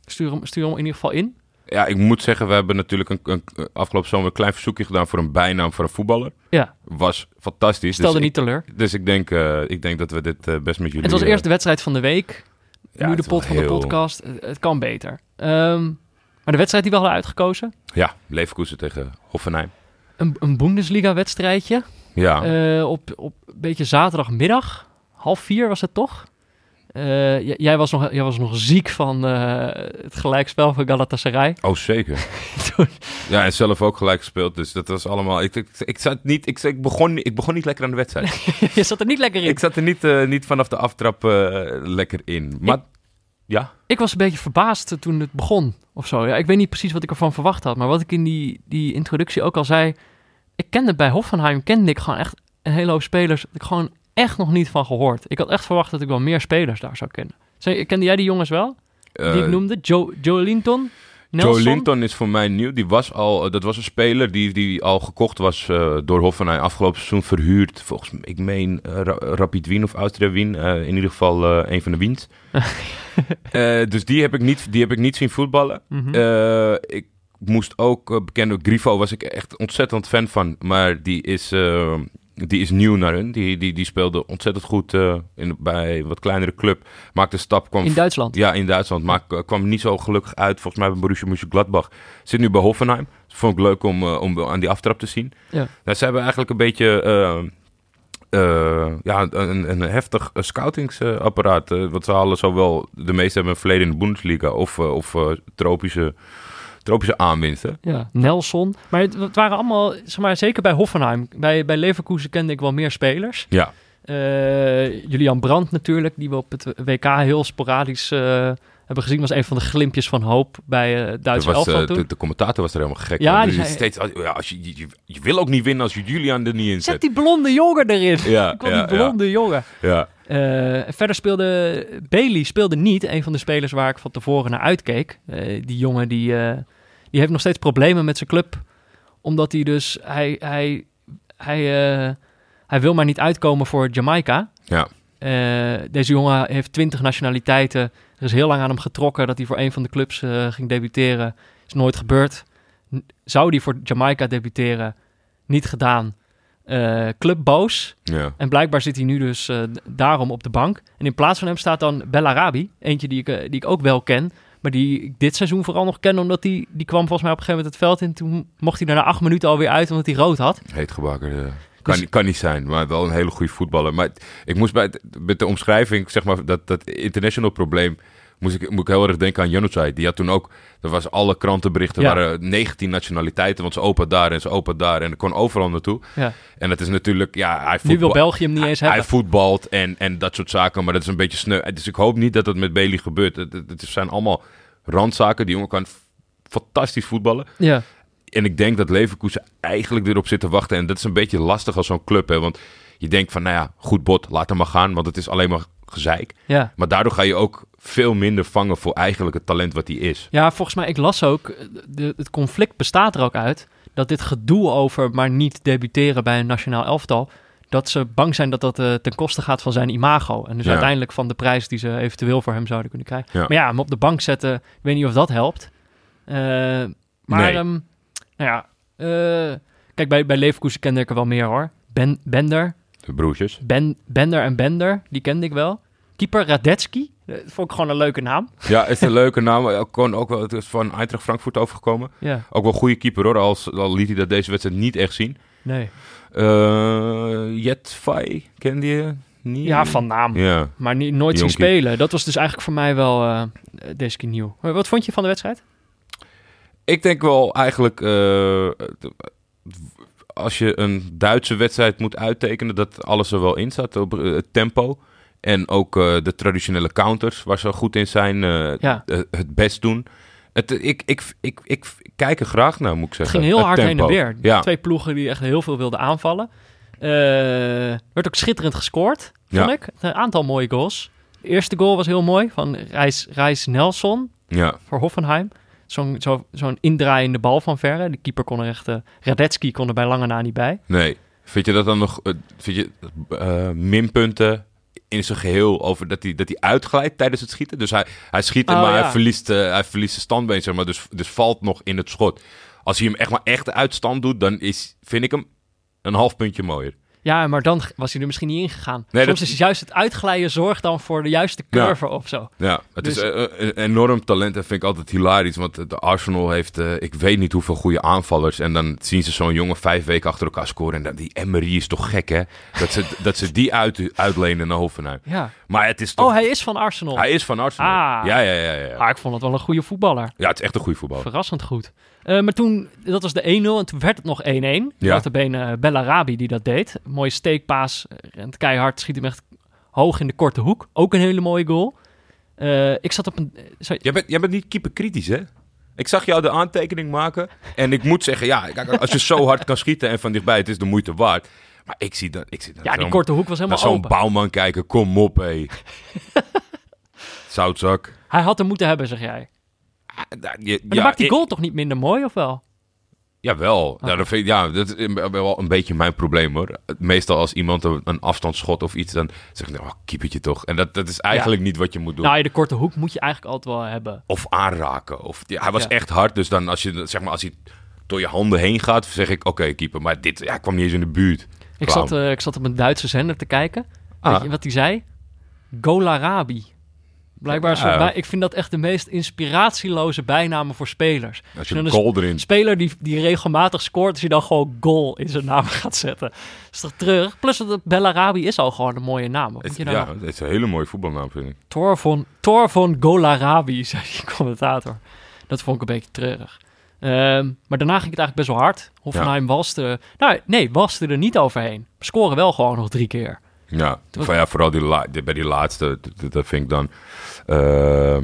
Speaker 1: stuur, hem, stuur hem in ieder geval in.
Speaker 4: Ja, ik moet zeggen, we hebben natuurlijk een, een, een- afgelopen zomer een klein verzoekje gedaan voor een bijnaam voor een voetballer.
Speaker 1: Ja,
Speaker 4: Was fantastisch.
Speaker 1: stel
Speaker 4: dus
Speaker 1: er niet
Speaker 4: ik,
Speaker 1: teleur.
Speaker 4: Dus ik denk, eh, ik denk dat we dit eh, best met jullie...
Speaker 1: Het was
Speaker 4: eh,
Speaker 1: eerst de wedstrijd van de week.
Speaker 4: ja,
Speaker 1: nu de
Speaker 4: het is wel
Speaker 1: pot van de
Speaker 4: heel-
Speaker 1: podcast. Het, het kan beter. Ehm, maar de wedstrijd die we hadden uitgekozen.
Speaker 4: Ja, Leverkusen tegen Hoffenheim.
Speaker 1: Een, een Bundesliga-wedstrijdje.
Speaker 4: Ja,
Speaker 1: eh, op, op een beetje zaterdagmiddag. Half vier was het toch? Eh, j- jij, was nog, jij was nog ziek van eh, het gelijkspel van Galatasaray.
Speaker 4: oh zeker.
Speaker 1: Toen-
Speaker 4: Ja, en zelf ook gelijk gespeeld, dus dat was allemaal... Ik, ik, ik, zat niet, ik, ik, begon, ik begon niet lekker aan de wedstrijd.
Speaker 1: [LAUGHS] je zat er niet lekker in.
Speaker 4: ik
Speaker 1: Ik,
Speaker 4: zat er niet, eh, niet vanaf de aftrap eh, lekker in. Maar ja,
Speaker 1: was een beetje verbaasd toen het begon. Of zo. Ja, ik weet niet precies wat ik ervan verwacht had. Maar wat ik in die, die introductie ook al zei. Ik kende bij Hoffenheim kende ik gewoon echt een hele hoop spelers. dat Ik gewoon echt nog niet van gehoord. Ik had echt verwacht dat ik wel meer spelers daar zou kennen. Zeg, kende jij die jongens wel? Die ik
Speaker 4: eh,
Speaker 1: noemde? Joe, Joe Linton? Nelson?
Speaker 4: Joe Linton is voor mij nieuw. Die was al, eh, dat was een speler die, die al gekocht was eh, door Hoffenheim afgelopen seizoen verhuurd. Volgens mij, ik meen eh, Ra- Rapid Wien of Austria Wien. eh, in ieder geval eh, een van de
Speaker 1: [LAUGHS]
Speaker 4: Wiens. Eh, dus die heb, ik niet, die heb ik niet zien voetballen.
Speaker 1: Mhm.
Speaker 4: Eh, ik moest ook eh, bekennen, Grifo was ik echt ontzettend fan van. Maar die is, eh, die is nieuw naar hun. Die, die, die speelde ontzettend goed eh, in, bij een wat kleinere club. Maakte stap, kwam
Speaker 1: in Duitsland.
Speaker 4: ja, in Duitsland. Maar k- kwam niet zo gelukkig uit. Volgens mij bij Borussia Mönchengladbach. Zit nu bij Hoffenheim. Dus vond ik leuk om, eh, om aan die aftrap te zien.
Speaker 1: Ja.
Speaker 4: Nou, ze hebben eigenlijk een beetje... eh, eh, ja, een, een heftig eh, scoutingsapparaat. eh, want ze halen zowel... De meeste hebben een verleden in de Bundesliga. Of, eh, of eh, tropische, Tropische aanwinsten.
Speaker 1: Ja, Nelson. Maar het, het waren allemaal, zeg maar, zeker bij Hoffenheim. Bij, bij Leverkusen kende ik wel meer spelers.
Speaker 4: Ja.
Speaker 1: Eh, Julian Brandt natuurlijk, die we op het WK heel sporadisch eh, hebben gezien. Was een van de glimpjes van hoop bij eh, het
Speaker 4: Dat
Speaker 1: Duitse
Speaker 4: was, eh,
Speaker 1: elftal toen.
Speaker 4: de, de commentator was er helemaal gek.
Speaker 1: Ja,
Speaker 4: van.
Speaker 1: die
Speaker 4: Dus
Speaker 1: zei-
Speaker 4: steeds, als- ja, als je, je, je- je wil ook niet winnen als je Julian er niet in
Speaker 1: Zet
Speaker 4: zet.
Speaker 1: die blonde jongen erin.
Speaker 4: Ja,
Speaker 1: ik wil
Speaker 4: ja,
Speaker 1: die blonde jongen.
Speaker 4: Ja.
Speaker 1: Eh, verder speelde Bailey speelde niet. Een van de spelers waar ik van tevoren naar uitkeek. Eh, die jongen die, eh, die heeft nog steeds problemen met zijn club. Omdat hij dus... Hij, hij, hij, eh, hij wil maar niet uitkomen voor Jamaica.
Speaker 4: Ja.
Speaker 1: Eh, deze jongen heeft twintig nationaliteiten. Er is heel lang aan hem getrokken dat hij voor een van de clubs eh, ging debuteren. Is nooit gebeurd. N- zou hij voor Jamaica debuteren? Niet gedaan. Eh, club boos.
Speaker 4: Ja.
Speaker 1: En blijkbaar zit hij nu dus eh, d- daarom op de bank. En in plaats van hem staat dan Bellarabi. Eentje die ik, eh, die ik ook wel ken. Maar die ik dit seizoen vooral nog ken. Omdat die, die kwam volgens mij op een gegeven moment het veld in. Toen mocht hij daarna acht minuten alweer uit. Omdat hij rood had.
Speaker 4: Heet gebakken. eh, Kan,
Speaker 1: Dus-
Speaker 4: niet- kan niet zijn, maar wel een hele goede voetballer. Maar het- ik moest bij het- met de omschrijving, zeg maar, dat, dat international probleem. Moest ik, moet ik heel erg denken aan Januzaj. Die had toen ook, er was alle krantenberichten,
Speaker 1: Ja.
Speaker 4: waren 19 nationaliteiten. Want zijn opa daar en zijn opa daar. En er kon overal naartoe.
Speaker 1: Ja.
Speaker 4: En dat is natuurlijk, ja, hij
Speaker 1: Nu wil
Speaker 4: voetbal-
Speaker 1: België hem niet eens
Speaker 4: hij
Speaker 1: hebben.
Speaker 4: voetbalt en, en dat soort zaken, maar dat is een beetje sneu. Dus ik hoop niet dat dat met Bailey gebeurt. Het, het- het zijn allemaal randzaken. Die jongen kan f- fantastisch voetballen.
Speaker 1: Ja.
Speaker 4: En ik denk dat Leverkusen eigenlijk erop zit te wachten. En dat is een beetje lastig als zo'n club. Hè? Want je denkt van, nou ja, goed bot, laat hem maar gaan. Want het is alleen maar gezeik.
Speaker 1: Ja.
Speaker 4: Maar daardoor ga je ook veel minder vangen voor eigenlijk het talent wat hij is.
Speaker 1: Ja, volgens mij, ik las ook, eh, de, het conflict bestaat er ook uit dat dit gedoe over maar niet debuteren bij een nationaal elftal, dat ze bang zijn dat dat eh, ten koste gaat van zijn imago. En dus
Speaker 4: Ja.
Speaker 1: uiteindelijk van de prijs die ze eventueel voor hem zouden kunnen krijgen.
Speaker 4: Ja.
Speaker 1: Maar ja, hem op de bank zetten, ik weet niet of dat helpt. Eh, maar,
Speaker 4: Nee.
Speaker 1: ehm, nou ja, eh, kijk, bij, bij Leverkusen kende ik er wel meer hoor. Ben, Bender,
Speaker 4: De broertjes.
Speaker 1: ben, Bender en Bender, die kende ik wel. Keeper Radetzky, dat vond ik gewoon een leuke naam.
Speaker 4: Ja, is een leuke naam. Ook Gewoon ook wel, het is van Eintracht Frankfurt overgekomen.
Speaker 1: Ja,
Speaker 4: Ook wel een goede keeper hoor, al, al liet hij dat deze wedstrijd niet echt zien.
Speaker 1: nee.
Speaker 4: Eh Jetfai, kende je niet?
Speaker 1: Ja, van naam.
Speaker 4: Ja.
Speaker 1: Maar ni- nooit zien
Speaker 4: Jonkie.
Speaker 1: spelen. Dat was dus eigenlijk voor mij wel eh deze keer nieuw. Maar wat vond je van de wedstrijd?
Speaker 4: Ik denk wel eigenlijk, eh, als je een Duitse wedstrijd moet uittekenen, dat alles er wel in zat. Op, eh, het tempo en ook eh, de traditionele counters, waar ze goed in zijn, eh,
Speaker 1: Ja.
Speaker 4: eh, het best doen. Het, ik, ik, ik, ik, ik kijk er graag naar, moet ik
Speaker 1: Het
Speaker 4: zeggen.
Speaker 1: ging heel hard heen en
Speaker 4: Eh, tempo.
Speaker 1: weer.
Speaker 4: Ja.
Speaker 1: Twee ploegen die echt heel veel wilden aanvallen. Er werd ook schitterend gescoord, vond
Speaker 4: Ja.
Speaker 1: ik. Een aantal mooie goals. De eerste goal was heel mooi van Reis, Reis Nelson
Speaker 4: Ja.
Speaker 1: voor Hoffenheim. Zo'n zo, zo'n indraaiende bal van verre. De keeper kon er echt... eh, Radetzky kon er bij lange na niet bij.
Speaker 4: Nee. Vind je dat dan nog, eh, vind je eh, minpunten in zijn geheel over dat hij, dat hij uitglijdt tijdens het schieten? Dus hij, hij schiet hem,
Speaker 1: Oh,
Speaker 4: maar
Speaker 1: ja.
Speaker 4: hij, verliest, eh, hij verliest zijn standbeen, zeg maar, dus, dus valt nog in het schot. Als hij hem echt maar echt uit stand doet, dan is, vind ik hem een half puntje mooier.
Speaker 1: Ja, maar dan was hij er misschien niet ingegaan.
Speaker 4: Nee,
Speaker 1: Soms
Speaker 4: dat-
Speaker 1: is juist het uitglijden zorg dan voor de juiste
Speaker 4: Ja.
Speaker 1: curve of zo.
Speaker 4: Ja, het
Speaker 1: Dus-
Speaker 4: is eh, eh, een enorm talent en vind ik altijd hilarisch. Want de Arsenal heeft, eh, ik weet niet hoeveel goede aanvallers. En dan zien ze zo'n jongen vijf weken achter elkaar scoren. En dan, die Emery is toch gek, hè? Dat ze, dat ze die uit, uitlenen naar Hoffenheim.
Speaker 1: Ja.
Speaker 4: Maar het is toch...
Speaker 1: Oh, hij is van Arsenal.
Speaker 4: Hij is van Arsenal.
Speaker 1: Ah.
Speaker 4: Ja, ja, ja, ja.
Speaker 1: Maar ik vond het wel een goede voetballer.
Speaker 4: Ja, het is echt een goede voetbal.
Speaker 1: Verrassend goed. Eh, maar toen, dat was de 1-0 en toen werd het nog 1-1.
Speaker 4: Ja.
Speaker 1: Ja. bene Bellarabi die dat deed. Mooie steekpaas, eh, rent keihard, schiet hem echt hoog in de korte hoek. Ook een hele mooie goal. Eh, ik zat op een... eh, sorry,
Speaker 4: Jij bent, jij bent niet keeper kritisch, hè? Ik zag jou de aantekening maken. En ik moet zeggen, ja, kijk, als je zo hard kan schieten en van dichtbij, het is de moeite waard. Maar ik zie dat. Ik zie dat
Speaker 1: ja, die
Speaker 4: zo'n-
Speaker 1: korte hoek was
Speaker 4: naar
Speaker 1: helemaal
Speaker 4: zo'n
Speaker 1: open.
Speaker 4: bouwman kijken. Kom op,
Speaker 1: [LAUGHS]
Speaker 4: hé. Zoutzak.
Speaker 1: Hij had hem moeten hebben, zeg jij. Maar
Speaker 4: Ah, nou, je-
Speaker 1: dan maakt die
Speaker 4: ik-
Speaker 1: goal Oh. toch niet minder mooi, of wel?
Speaker 4: Jawel. Nou, dat vind ik- ja, dat is wel een beetje mijn probleem hoor. Meestal als iemand een- een afstandsschot of iets, dan zeg ik, nou, keepertje toch. En dat, dat is eigenlijk niet wat je moet doen.
Speaker 1: Nou, ja, de korte hoek moet je eigenlijk altijd wel hebben.
Speaker 4: of aanraken. Of, ja, hij was
Speaker 1: Ja.
Speaker 4: echt hard, dus dan als, je, zeg maar, als hij door je handen heen gaat, zeg ik, oké keeper, maar dit ja, kwam niet eens in de buurt.
Speaker 1: Ik
Speaker 4: Clown.
Speaker 1: zat, eh, ik zat op een Duitse zender te kijken.
Speaker 4: Ah.
Speaker 1: Weet je wat hij zei? Golarabi. Blijkbaar is
Speaker 4: Ja.
Speaker 1: het bij- ik vind dat echt de meest inspiratieloze bijnamen voor spelers.
Speaker 4: Als je
Speaker 1: dan
Speaker 4: een goal erin...
Speaker 1: speler die, die regelmatig scoort, als je dan gewoon goal in zijn naam [LAUGHS] gaat zetten. is toch treurig? Plus dat Bellarabi is al gewoon een mooie naam. Wat moet
Speaker 4: Het,
Speaker 1: je nou dan
Speaker 4: ja,
Speaker 1: nog?
Speaker 4: het is een hele mooie voetbalnaam, vind ik.
Speaker 1: [LAUGHS] Thor van, Thor van Golarabi, zei die commentator. Dat vond ik een beetje treurig. Ehm, maar daarna ging het eigenlijk best wel hard. Hoffenheim walste... Nou, nee, walste er niet overheen. We scoren wel gewoon nog drie keer.
Speaker 4: Ja, van, ja vooral die la- die- bij die laatste, d- d- dat vind ik dan... eh,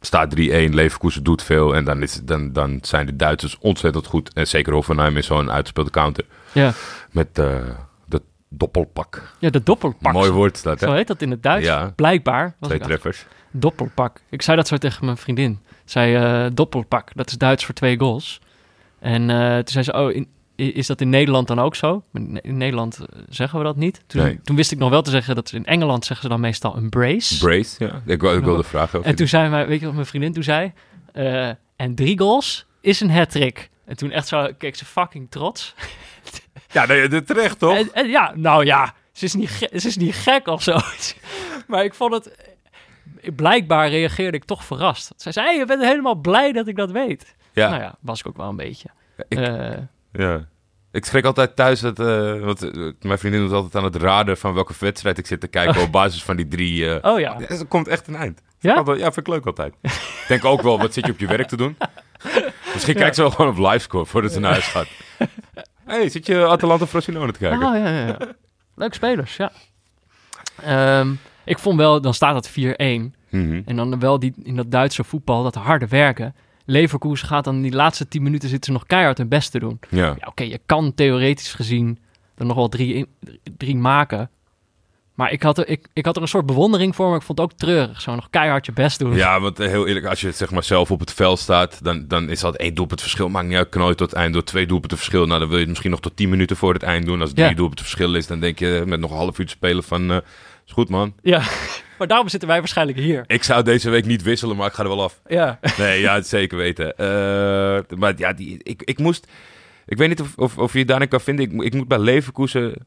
Speaker 4: staat 3-1, Leverkusen doet veel en dan, is, dan, dan zijn de Duitsers ontzettend goed. En zeker Hoffenheim is zo'n uitgespeelde counter
Speaker 1: Ja,
Speaker 4: met eh dat doppelpak.
Speaker 1: ja de doppelpak.
Speaker 4: Mooi woord is dat,
Speaker 1: Zo
Speaker 4: hè?
Speaker 1: heet dat in het Duits.
Speaker 4: Ja.
Speaker 1: Blijkbaar. Was
Speaker 4: Twee
Speaker 1: ik aan-
Speaker 4: treffers.
Speaker 1: Doppelpak. Ik zei dat zo tegen mijn vriendin. Zij eh doppelpak. Dat is Duits voor twee goals. En eh, toen zei ze, oh, in- i- is dat in Nederland dan ook zo? Maar In in Nederland eh, zeggen we dat niet. Toen,
Speaker 4: Nee.
Speaker 1: toen wist ik nog wel te zeggen dat ze in Engeland zeggen ze dan meestal een brace.
Speaker 4: Brace, ja. Ik, wou- ik wilde vragen. of
Speaker 1: en
Speaker 4: je-
Speaker 1: toen zei mijn, weet je wat mijn vriendin toen zei? Eh, en drie goals is een hat-trick. En toen echt zo keek ze fucking trots.
Speaker 4: Ja, nee, dat terecht, toch?
Speaker 1: En, en ja, nou ja, ze is niet, ge- ze is niet gek of zo. [LAUGHS] maar ik vond het... Blijkbaar reageerde ik toch verrast. Zij zei, hey, je bent helemaal blij dat ik dat weet.
Speaker 4: Ja.
Speaker 1: Nou ja, was ik ook wel een beetje.
Speaker 4: ik-
Speaker 1: Eh,
Speaker 4: Ja. Ik schrik altijd thuis dat. eh, want eh, mijn vriendin doet altijd aan het raden van welke wedstrijd ik zit te kijken op basis van die drie. eh,
Speaker 1: oh ja.
Speaker 4: ja, Er komt echt een eind.
Speaker 1: Ja?
Speaker 4: Altijd- ja, vind ik leuk altijd. Ik denk ook wel, wat zit je op je werk te doen? Misschien kijkt ze wel gewoon op livescore voordat ze naar huis
Speaker 1: [LAUGHS]
Speaker 4: gaat. Hé, hey, zit je Atalanta Frosinone te kijken?
Speaker 1: Ah, ja, ja, ja. Leuk spelers, ja. Ehm, ik vond wel, dan staat dat 4-1.
Speaker 4: Mhm.
Speaker 1: En dan wel die, in dat Duitse voetbal, dat harde werken. Leverkusen gaat dan die laatste 10 minuten zitten ze nog keihard hun best te doen.
Speaker 4: Ja.
Speaker 1: Ja, oké, je kan theoretisch gezien er nog wel drie, in- drie maken. Maar ik had, er, ik, ik had er een soort bewondering voor, maar ik vond het ook treurig. Zo nog keihard je best doen.
Speaker 4: ja, want eh, heel eerlijk, als je zeg maar zelf op het veld staat, dan, dan is dat één doelpunt verschil. Maakt niet uit, knal tot het eind door twee doelpunten verschil. Nou, dan wil je het misschien nog tot tien minuten voor het eind doen. Als het
Speaker 1: Ja.
Speaker 4: drie doelpunten verschil is, dan denk je eh, met nog een half uur te spelen van... eh, is goed, man.
Speaker 1: Ja, [LAUGHS] maar daarom zitten wij waarschijnlijk hier.
Speaker 4: Ik zou deze week niet wisselen, maar ik ga er wel af.
Speaker 1: Ja.
Speaker 4: [LAUGHS] Nee, ja, het zeker weten. Eh, maar ja, die, ik, ik moest... Ik weet niet of, of, of je het daarin kan vinden. Ik, mo- ik moet bij Leverkusen...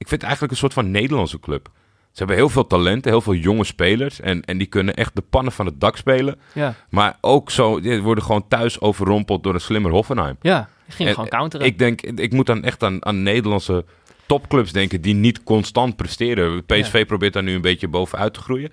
Speaker 4: Ik vind het eigenlijk een soort van Nederlandse club. Ze hebben heel veel talenten, heel veel jonge spelers. En, en die kunnen echt de pannen van het dak spelen.
Speaker 1: Ja,
Speaker 4: Maar ook zo, die worden gewoon thuis overrompeld door een slimmer Hoffenheim.
Speaker 1: ja. Je ging
Speaker 4: En-
Speaker 1: gewoon counteren.
Speaker 4: Ik denk, ik moet dan echt aan, aan Nederlandse topclubs denken die niet constant presteren. PSV probeert daar nu een beetje bovenuit te groeien.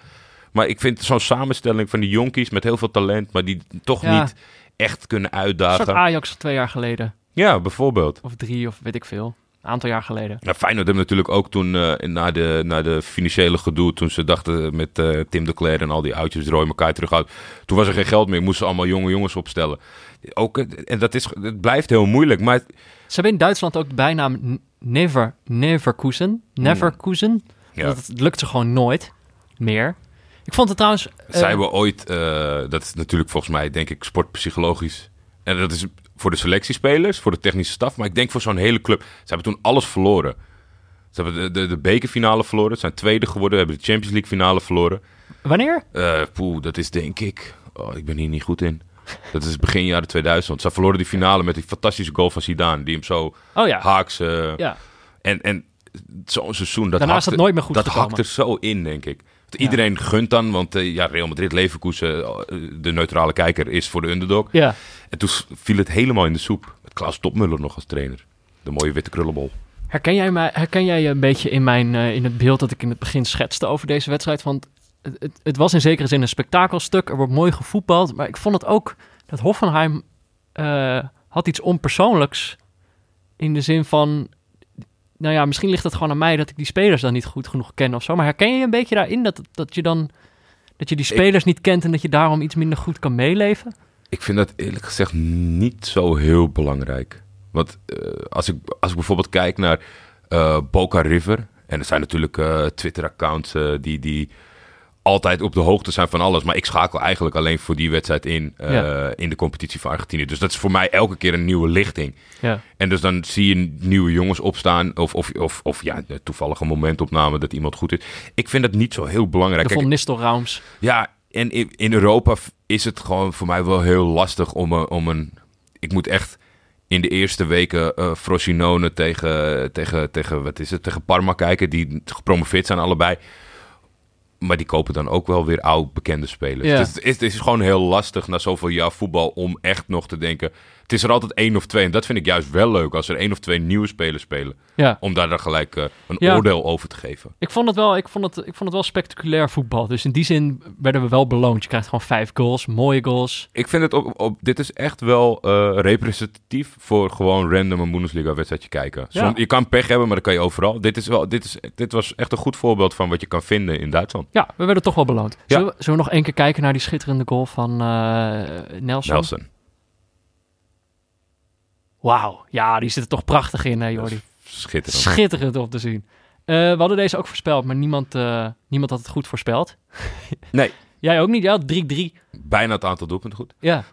Speaker 4: Maar ik vind zo'n samenstelling van die jonkies met heel veel talent, maar die toch
Speaker 1: Ja.
Speaker 4: niet echt kunnen
Speaker 1: een soort
Speaker 4: uitdagen.
Speaker 1: Ajax van twee jaar geleden.
Speaker 4: Ja, bijvoorbeeld.
Speaker 1: Of drie, of weet ik veel. Een aantal jaar geleden.
Speaker 4: Nou, Feyenoord hebben natuurlijk ook toen, eh, na, de, na de financiële gedoe, toen ze dachten met eh, Tim de Cler en al die oudjes rooi elkaar terug uit. Toen was er geen geld meer, moesten ze allemaal jonge jongens opstellen. Ook, eh, en dat is, het blijft heel moeilijk, maar het-
Speaker 1: Ze hebben in Duitsland ook de bijnaam N- Never, Neverkusen. Neverkusen.
Speaker 4: Hmm. ja.
Speaker 1: Want het lukt ze gewoon nooit meer. Ik vond het trouwens... eh,
Speaker 4: Zij hebben ooit, eh, dat is natuurlijk volgens mij, denk ik, sportpsychologisch. En dat is voor de selectiespelers, voor de technische staf, maar ik denk voor zo'n hele club. Ze hebben toen alles verloren. Ze hebben de, de, de bekerfinale verloren, ze zijn tweede geworden, hebben de Champions League finale verloren.
Speaker 1: Wanneer?
Speaker 4: Eh, poeh, dat is denk ik, oh, ik ben hier niet goed in. Dat is begin jaren 2000. Ze verloren die finale met die fantastische goal van Zidane, die hem zo
Speaker 1: Oh ja.
Speaker 4: haaks... eh,
Speaker 1: Ja.
Speaker 4: en, en zo'n seizoen, dat,
Speaker 1: Daarna is
Speaker 4: hakt,
Speaker 1: dat nooit meer goed
Speaker 4: dat
Speaker 1: gekomen.
Speaker 4: hakt er zo in, denk ik. Want iedereen gunt dan, want eh, ja, Real Madrid, Leverkusen, eh, de neutrale kijker, is voor de underdog.
Speaker 1: Ja.
Speaker 4: En toen s- viel het helemaal in de soep. Met Klaas Topmuller nog als trainer. De mooie witte krullenbol.
Speaker 1: Herken jij, mij, herken jij je een beetje in, mijn, eh, in het beeld dat ik in het begin schetste over deze wedstrijd? Want het, het, het was in zekere zin een spektakelstuk. Er wordt mooi gevoetbald. Maar ik vond het ook dat Hoffenheim eh, had iets onpersoonlijks. In de zin van, nou ja, misschien ligt het gewoon aan mij dat ik die spelers dan niet goed genoeg ken of zo. Maar herken je een beetje daarin dat, dat je dan... Dat je die spelers niet kent en dat je daarom iets minder goed kan meeleven?
Speaker 4: Ik vind dat eerlijk gezegd niet zo heel belangrijk. Want eh, als, ik, als ik bijvoorbeeld kijk naar eh, Boca River. En er zijn natuurlijk eh, Twitter-accounts eh, die, die altijd op de hoogte zijn van alles. Maar ik schakel eigenlijk alleen voor die wedstrijd in. eh,
Speaker 1: Ja.
Speaker 4: In de competitie van Argentinië. Dus dat is voor mij elke keer een nieuwe lichting.
Speaker 1: Ja.
Speaker 4: En dus dan zie je nieuwe jongens opstaan. Of, of, of, of ja, een toevallige momentopname dat iemand goed is. Ik vind dat niet zo heel belangrijk.
Speaker 1: De
Speaker 4: Kijk,
Speaker 1: Von Nistelrooms.
Speaker 4: ja, en in, in Europa v- is het gewoon voor mij wel heel lastig om een... Om een ik moet echt in de eerste weken eh Frosinone tegen, tegen, tegen, wat is het, tegen Parma kijken. Die gepromoveerd zijn allebei. Maar die kopen dan ook wel weer oud bekende spelers.
Speaker 1: Ja.
Speaker 4: Dus het is, het is gewoon heel lastig na zoveel jaar voetbal om echt nog te denken. Het is er altijd één of twee. En dat vind ik juist wel leuk als er één of twee nieuwe spelers spelen.
Speaker 1: Ja.
Speaker 4: Om daar dan gelijk eh, een
Speaker 1: Ja.
Speaker 4: oordeel over te geven.
Speaker 1: Ik vond, het wel, ik, vond het, ik vond het wel spectaculair voetbal. Dus in die zin werden we wel beloond. Je krijgt gewoon vijf goals, mooie goals.
Speaker 4: Ik vind het op, op dit is echt wel eh, representatief voor gewoon random een Bundesliga wedstrijdje kijken.
Speaker 1: Ja.
Speaker 4: Som- je kan pech hebben, maar dat kan je overal. Dit, is wel, dit, is, dit was echt een goed voorbeeld van wat je kan vinden in Duitsland.
Speaker 1: Ja, we werden toch wel beloond. Zullen, we, zullen we nog één keer kijken naar die schitterende goal van eh, Nelson?
Speaker 4: Nelson.
Speaker 1: Wauw, ja, die zit er toch prachtig in, hè
Speaker 4: Dat
Speaker 1: Jordi?
Speaker 4: is Schitterend.
Speaker 1: Schitterend om te zien. Eh, we hadden deze ook voorspeld, maar niemand, eh, niemand had het goed voorspeld.
Speaker 4: Nee.
Speaker 1: Jij ook niet? Jij had 3-3.
Speaker 4: Bijna het aantal doelpunten goed. [LAUGHS]
Speaker 1: Ja.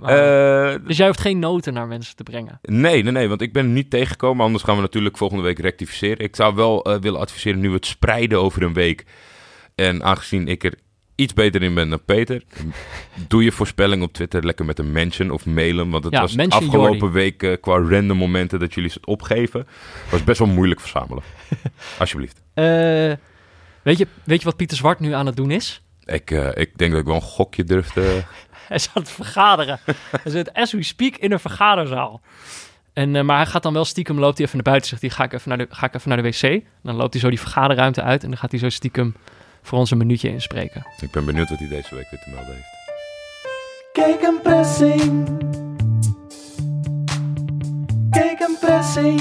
Speaker 1: Maar-
Speaker 4: Eh
Speaker 1: dus jij hoeft geen noten naar mensen te brengen.
Speaker 4: Nee, nee, nee, want ik ben niet tegengekomen. Anders gaan we natuurlijk volgende week rectificeren. Ik zou wel eh, willen adviseren nu we het spreiden over een week. En aangezien ik er iets beter in ben dan Peter, [LAUGHS] doe je voorspelling op Twitter lekker met een mention of mail hem. Want het
Speaker 1: Ja,
Speaker 4: was
Speaker 1: mention
Speaker 4: afgelopen
Speaker 1: Jordi.
Speaker 4: week eh, qua random momenten dat jullie het opgeven. was best wel moeilijk
Speaker 1: [LAUGHS]
Speaker 4: verzamelen. Alsjeblieft.
Speaker 1: Eh, weet, je, weet je wat Pieter Zwart nu aan het doen is?
Speaker 4: Ik, eh, ik denk dat ik wel een gokje durf te...
Speaker 1: Hij is aan het
Speaker 4: [LAUGHS]
Speaker 1: vergaderen. hij zit as we speak in een vergaderzaal. En, eh, maar hij gaat dan wel stiekem, loopt hij even naar buiten. Zegt hij, ga ik, even naar de, ga ik even naar de wc. En dan loopt hij zo die vergaderruimte uit. En dan gaat hij zo stiekem voor ons een minuutje inspreken.
Speaker 4: Ik ben benieuwd wat hij deze week weer te melden heeft.
Speaker 5: Kijk een pressing. Kijk een pressing.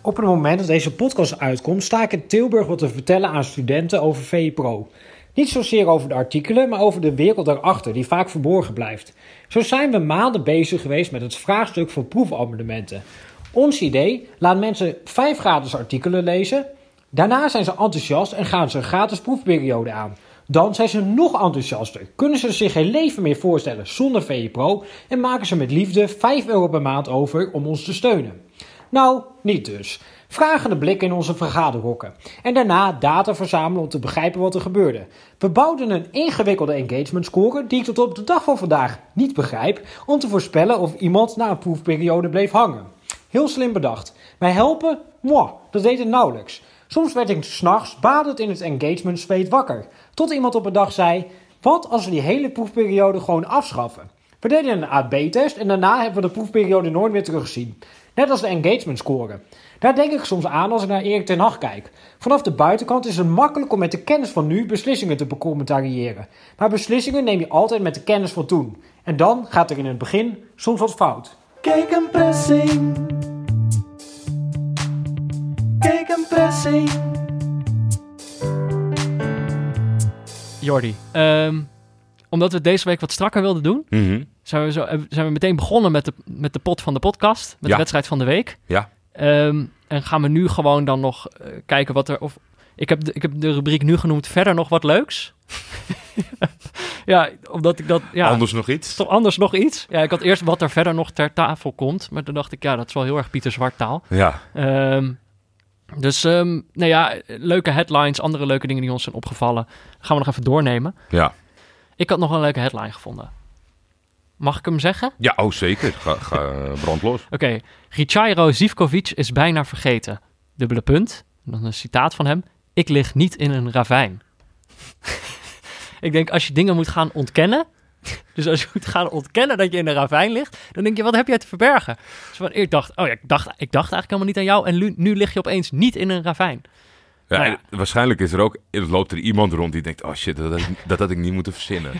Speaker 6: Op het moment dat deze podcast uitkomt, sta ik in Tilburg wat te vertellen aan studenten over VPRO. Niet zozeer over de artikelen, maar over de wereld daarachter, die vaak verborgen blijft. Zo zijn we maanden bezig geweest met het vraagstuk van proefabonnementen. Ons idee: laat mensen vijf gratis artikelen lezen. Daarna zijn ze enthousiast en gaan ze een gratis proefperiode aan. Dan zijn ze nog enthousiaster, kunnen ze zich geen leven meer voorstellen zonder VPRO en maken ze met liefde 5 euro per maand over om ons te steunen. Nou, niet dus. Vragende blik in onze vergaderhokken. En daarna data verzamelen om te begrijpen wat er gebeurde. We bouwden een ingewikkelde engagement score die ik tot op de dag van vandaag niet begrijp, om te voorspellen of iemand na een proefperiode bleef hangen. Heel slim bedacht. Wij helpen? Mwah, dat deed het nauwelijks. Soms werd ik s'nachts badend in het engagement zweet wakker. Tot iemand op een dag zei, wat als we die hele proefperiode gewoon afschaffen? We deden een AB-test en daarna hebben we de proefperiode nooit meer teruggezien. Net als de engagement score. Daar denk ik soms aan als ik naar Erik ten Hag kijk. Vanaf de buitenkant is het makkelijk om met de kennis van nu beslissingen te becommentariëren. Maar beslissingen neem je altijd met de kennis van toen. En dan gaat er in het begin soms wat fout.
Speaker 5: Kijk een pressing. Kijk een pressing.
Speaker 1: Jordi, ehm, omdat we het deze week wat strakker wilden doen...
Speaker 4: Mhm.
Speaker 1: zijn we, zo, eh, zijn we meteen begonnen met de, met de pot van de podcast. Met
Speaker 4: Ja.
Speaker 1: de wedstrijd van de week.
Speaker 4: Ja.
Speaker 1: Ehm, en gaan we nu gewoon dan nog eh, kijken wat er... Of, ik, heb de, ik heb de rubriek nu genoemd, verder nog wat leuks. [LAUGHS] ja, omdat ik dat... Ja,
Speaker 4: Anders nog iets?
Speaker 1: Toch anders nog iets? Ja, ik had eerst wat er verder nog ter tafel komt. Maar toen dacht ik, ja, dat is wel heel erg Pieter Zwart taal.
Speaker 4: Ja.
Speaker 1: Ehm, dus, ehm, nou ja, leuke headlines, andere leuke dingen die ons zijn opgevallen. Gaan we nog even doornemen.
Speaker 4: Ja.
Speaker 1: Ik had nog een leuke headline gevonden. Mag ik hem zeggen?
Speaker 4: Ja, oh zeker. Ga, eh, ga brand los.
Speaker 1: Oké, Richairo Zivkovic is bijna vergeten. Dubbele punt. En Dan een citaat van hem. Ik lig niet in een ravijn. [LAUGHS] ik denk, als je dingen moet gaan ontkennen... [LAUGHS] Dus als je moet gaan ontkennen dat je in een ravijn ligt... dan denk je, wat heb jij te verbergen? Dus van, ik, dacht, oh ja, ik, dacht, ik dacht eigenlijk helemaal niet aan jou... en nu, nu lig je opeens niet in een ravijn.
Speaker 4: Ja,
Speaker 1: Nou ja.
Speaker 4: en Waarschijnlijk is er ook, er loopt er iemand rond die denkt, oh shit, dat had ik, dat had ik niet moeten
Speaker 1: [LAUGHS]
Speaker 4: verzinnen.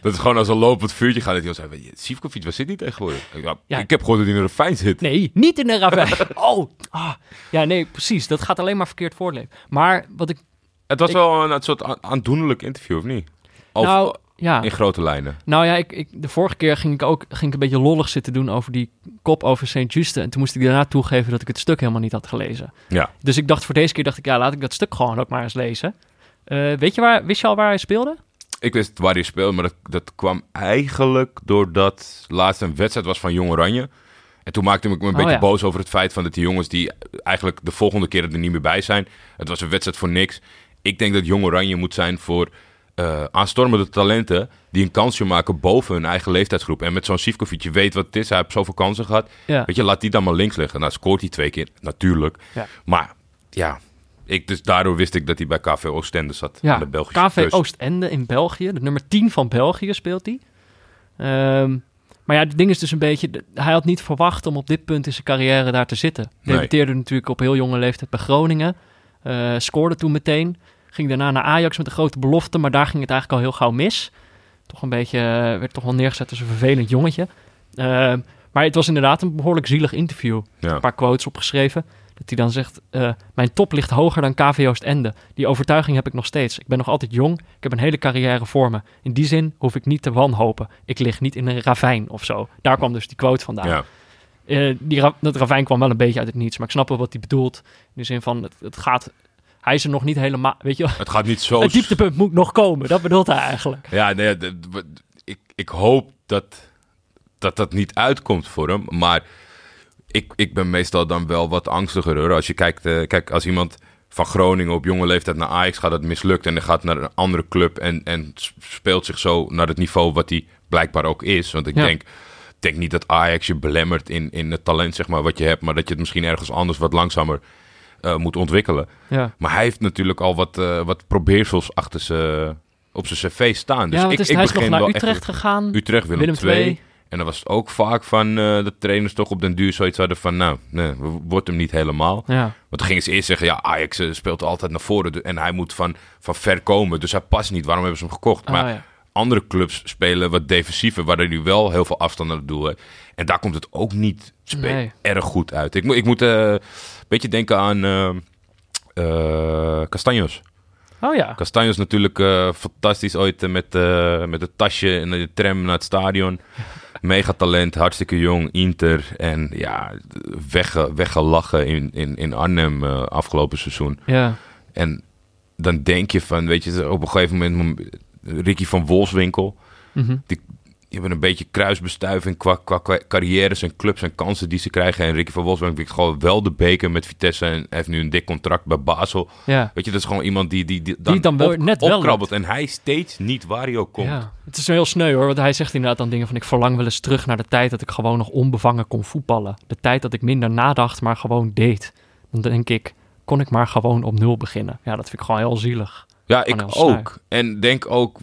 Speaker 4: dat is gewoon als een lopend vuurtje gaat, dat hij al zei, Sivkovic, waar zit die tegenwoordig? Ik, ja,
Speaker 1: Ja.
Speaker 4: ik heb gehoord dat hij in een fijn zit.
Speaker 1: Nee, niet in een ravijn. [LAUGHS] oh, ah. ja, nee, precies. Dat gaat alleen maar verkeerd voortleven. Maar wat ik...
Speaker 4: Het was
Speaker 1: Ik-
Speaker 4: wel een, soort a- aandoenlijk interview, of niet? Of
Speaker 1: nou, ja.
Speaker 4: in grote lijnen.
Speaker 1: Nou ja, ik, ik, de vorige keer ging ik ook ging ik een beetje lollig zitten doen over die kop over Sint-Juste. En toen moest ik daarna toegeven dat ik het stuk helemaal niet had gelezen.
Speaker 4: Ja.
Speaker 1: Dus ik dacht voor deze keer, dacht ik, ja, laat ik dat stuk gewoon ook maar eens lezen. Eh, weet je waar, wist je al waar hij speelde?
Speaker 4: Ik wist waar hij speelde, maar dat, dat kwam eigenlijk doordat laatst een wedstrijd was van Jong Oranje. En toen maakte ik me een
Speaker 1: Oh,
Speaker 4: beetje
Speaker 1: ja.
Speaker 4: boos over het feit van dat die jongens die eigenlijk de volgende keer er niet meer bij zijn. Het was een wedstrijd voor niks. Ik denk dat Jong Oranje moet zijn voor eh, aanstormende talenten die een kansje maken boven hun eigen leeftijdsgroep. En met zo'n Sivkovic, je weet wat het is. Hij heeft zoveel kansen gehad.
Speaker 1: Ja.
Speaker 4: Weet je, laat die dan maar links liggen. Nou, scoort hij twee keer, natuurlijk.
Speaker 1: Ja.
Speaker 4: Maar ja, ik, dus daardoor wist ik dat hij bij KV Oostende zat. aan
Speaker 1: Ja,
Speaker 4: de Belgische
Speaker 1: KV
Speaker 4: kust.
Speaker 1: Oostende in België. De nummer 10 van België speelt hij. Ehm, maar ja, het ding is dus een beetje... de- Hij had niet verwacht om op dit punt in zijn carrière daar te zitten.
Speaker 4: Nee.
Speaker 1: Debuteerde natuurlijk op heel jonge leeftijd bij Groningen. eh, scoorde toen meteen. Ging daarna naar Ajax met een grote belofte. Maar daar ging het eigenlijk al heel gauw mis. Toch een beetje... eh, werd toch wel neergezet als een vervelend jongetje. Ehm, maar het was inderdaad een behoorlijk zielig interview
Speaker 4: Ja.
Speaker 1: een paar quotes opgeschreven. Dat hij dan zegt, eh, mijn top ligt hoger dan KV Oostende. Die overtuiging heb ik nog steeds. Ik ben nog altijd jong. Ik heb een hele carrière voor me. In die zin hoef ik niet te wanhopen. Ik lig niet in een ravijn of zo. Daar kwam dus die quote vandaan.
Speaker 4: Ja.
Speaker 1: Eh, die ra- dat ravijn kwam wel een beetje uit het niets. Maar ik snap wel wat hij bedoelt. In de zin van, het, het gaat... Hij is er nog niet helemaal... Weet je, wel,
Speaker 4: Het gaat niet zo...
Speaker 1: het dieptepunt moet nog komen. Dat bedoelt hij eigenlijk.
Speaker 4: Ja, nee, d- d- w- ik, ik hoop dat, dat dat niet uitkomt voor hem. Maar ik, ik ben meestal dan wel wat angstiger hoor. Als je kijkt, eh, kijk, als iemand van Groningen op jonge leeftijd naar Ajax gaat, dat mislukt. En dan gaat naar een andere club en, en s- speelt zich zo naar het niveau wat hij blijkbaar ook is. Want ik
Speaker 1: Ja.
Speaker 4: denk. Ik denk niet dat Ajax je belemmert in, in het talent zeg maar, wat je hebt, maar dat je het misschien ergens anders wat langzamer eh, moet ontwikkelen.
Speaker 1: Ja.
Speaker 4: Maar hij heeft natuurlijk al wat, eh, wat probeersels achter zijn, op zijn cv staan. Dus
Speaker 1: ja, want
Speaker 4: ik,
Speaker 1: is,
Speaker 4: ik
Speaker 1: hij is nog
Speaker 4: begin
Speaker 1: naar
Speaker 4: wel echt-
Speaker 1: Utrecht gegaan.
Speaker 4: Utrecht, Willem,
Speaker 1: Willem
Speaker 4: II.
Speaker 1: II.
Speaker 4: En dan was het ook vaak van eh de trainers toch op den duur zoiets hadden van... Nou, nee, w- wordt hem niet helemaal.
Speaker 1: Ja.
Speaker 4: Want dan gingen ze eerst zeggen, ja, Ajax eh, speelt altijd naar voren. du- En hij moet van, van ver komen, dus hij past niet. Waarom hebben ze hem gekocht?
Speaker 1: Ah,
Speaker 4: Maar
Speaker 1: ja.
Speaker 4: andere clubs spelen wat defensiever... waardoor hij wel heel veel afstand naar het doel heeft. En daar komt het ook niet spe-
Speaker 1: Nee.
Speaker 4: erg goed uit. Ik, moet- ik moet eh, een beetje denken aan eh eh, Castanjos.
Speaker 1: Oh ja.
Speaker 4: Castanjos natuurlijk eh, fantastisch ooit eh, met, eh, met het tasje en de tram naar het
Speaker 1: [LAUGHS]
Speaker 4: stadion. Megatalent, hartstikke jong, Inter. En ja, wegge, weggelachen in, in, in Arnhem eh, afgelopen seizoen.
Speaker 1: Ja.
Speaker 4: En dan denk je van, weet je, op een gegeven moment... Ricky van Wolfswinkel,
Speaker 1: Mhm.
Speaker 4: die, die hebben een beetje kruisbestuiving qua, qua, qua carrières en clubs en kansen die ze krijgen. En Ricky van Wolfswinkel wint gewoon wel de beker met Vitesse en heeft nu een dik contract bij Basel.
Speaker 1: ja.
Speaker 4: Weet je, dat is gewoon iemand die, die, die dan,
Speaker 1: dan wel- net wel
Speaker 4: opkrabbelt. En hij steeds niet waar hij ook komt.
Speaker 1: Ja, het is heel sneu hoor, want hij zegt inderdaad dan dingen van... ik verlang wel eens terug naar de tijd dat ik gewoon nog onbevangen kon voetballen. De tijd dat ik minder nadacht, maar gewoon deed. Dan denk ik, kon ik maar gewoon op nul beginnen. Ja, dat vind ik gewoon heel zielig.
Speaker 4: Ja, ik
Speaker 1: Gewoon heel
Speaker 4: ook. En denk ook,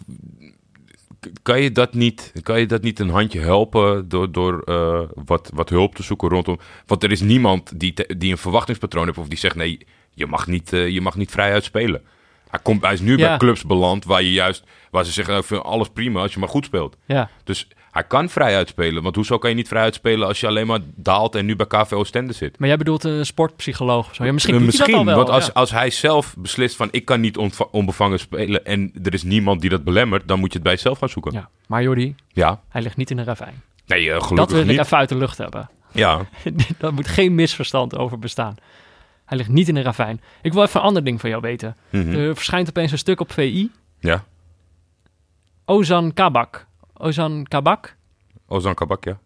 Speaker 4: k- kan je dat niet, kan je dat niet een handje helpen door, door eh, wat, wat hulp te zoeken rondom? Want er is niemand die, te- die een verwachtingspatroon heeft of die zegt, nee, je mag niet, eh, je mag niet vrijuit spelen. Hij, komt, hij is nu
Speaker 1: Ja.
Speaker 4: bij clubs beland waar, je juist, waar ze zeggen, nou, ik vind alles prima als je maar goed speelt.
Speaker 1: Ja,
Speaker 4: Dus hij kan vrijuit spelen. Want hoezo kan je niet vrijuit spelen als je alleen maar daalt en nu bij KVO Stende zit?
Speaker 1: maar jij bedoelt een sportpsycholoog of zo. Ja, misschien
Speaker 4: Eh,
Speaker 1: doet hij dat al wel.
Speaker 4: want als,
Speaker 1: ja.
Speaker 4: als hij zelf beslist van ik kan niet ontva- onbevangen spelen en er is niemand die dat belemmert, dan moet je het bij jezelf gaan zoeken. Ja.
Speaker 1: Ja, maar Jordi, hij ligt niet in een ravijn.
Speaker 4: Nee, eh,
Speaker 1: Dat
Speaker 4: gelukkig
Speaker 1: wil ik
Speaker 4: niet.
Speaker 1: even uit de lucht hebben. [LAUGHS]
Speaker 4: Ja.
Speaker 1: Daar moet geen misverstand over bestaan. Hij ligt niet in een ravijn. Ik wil even een ander ding van jou weten.
Speaker 4: Mhm.
Speaker 1: Er verschijnt opeens een stuk op VI.
Speaker 4: ja.
Speaker 1: Ozan Kabak. Ozan Kabak?
Speaker 4: Ozan Kabak, ja.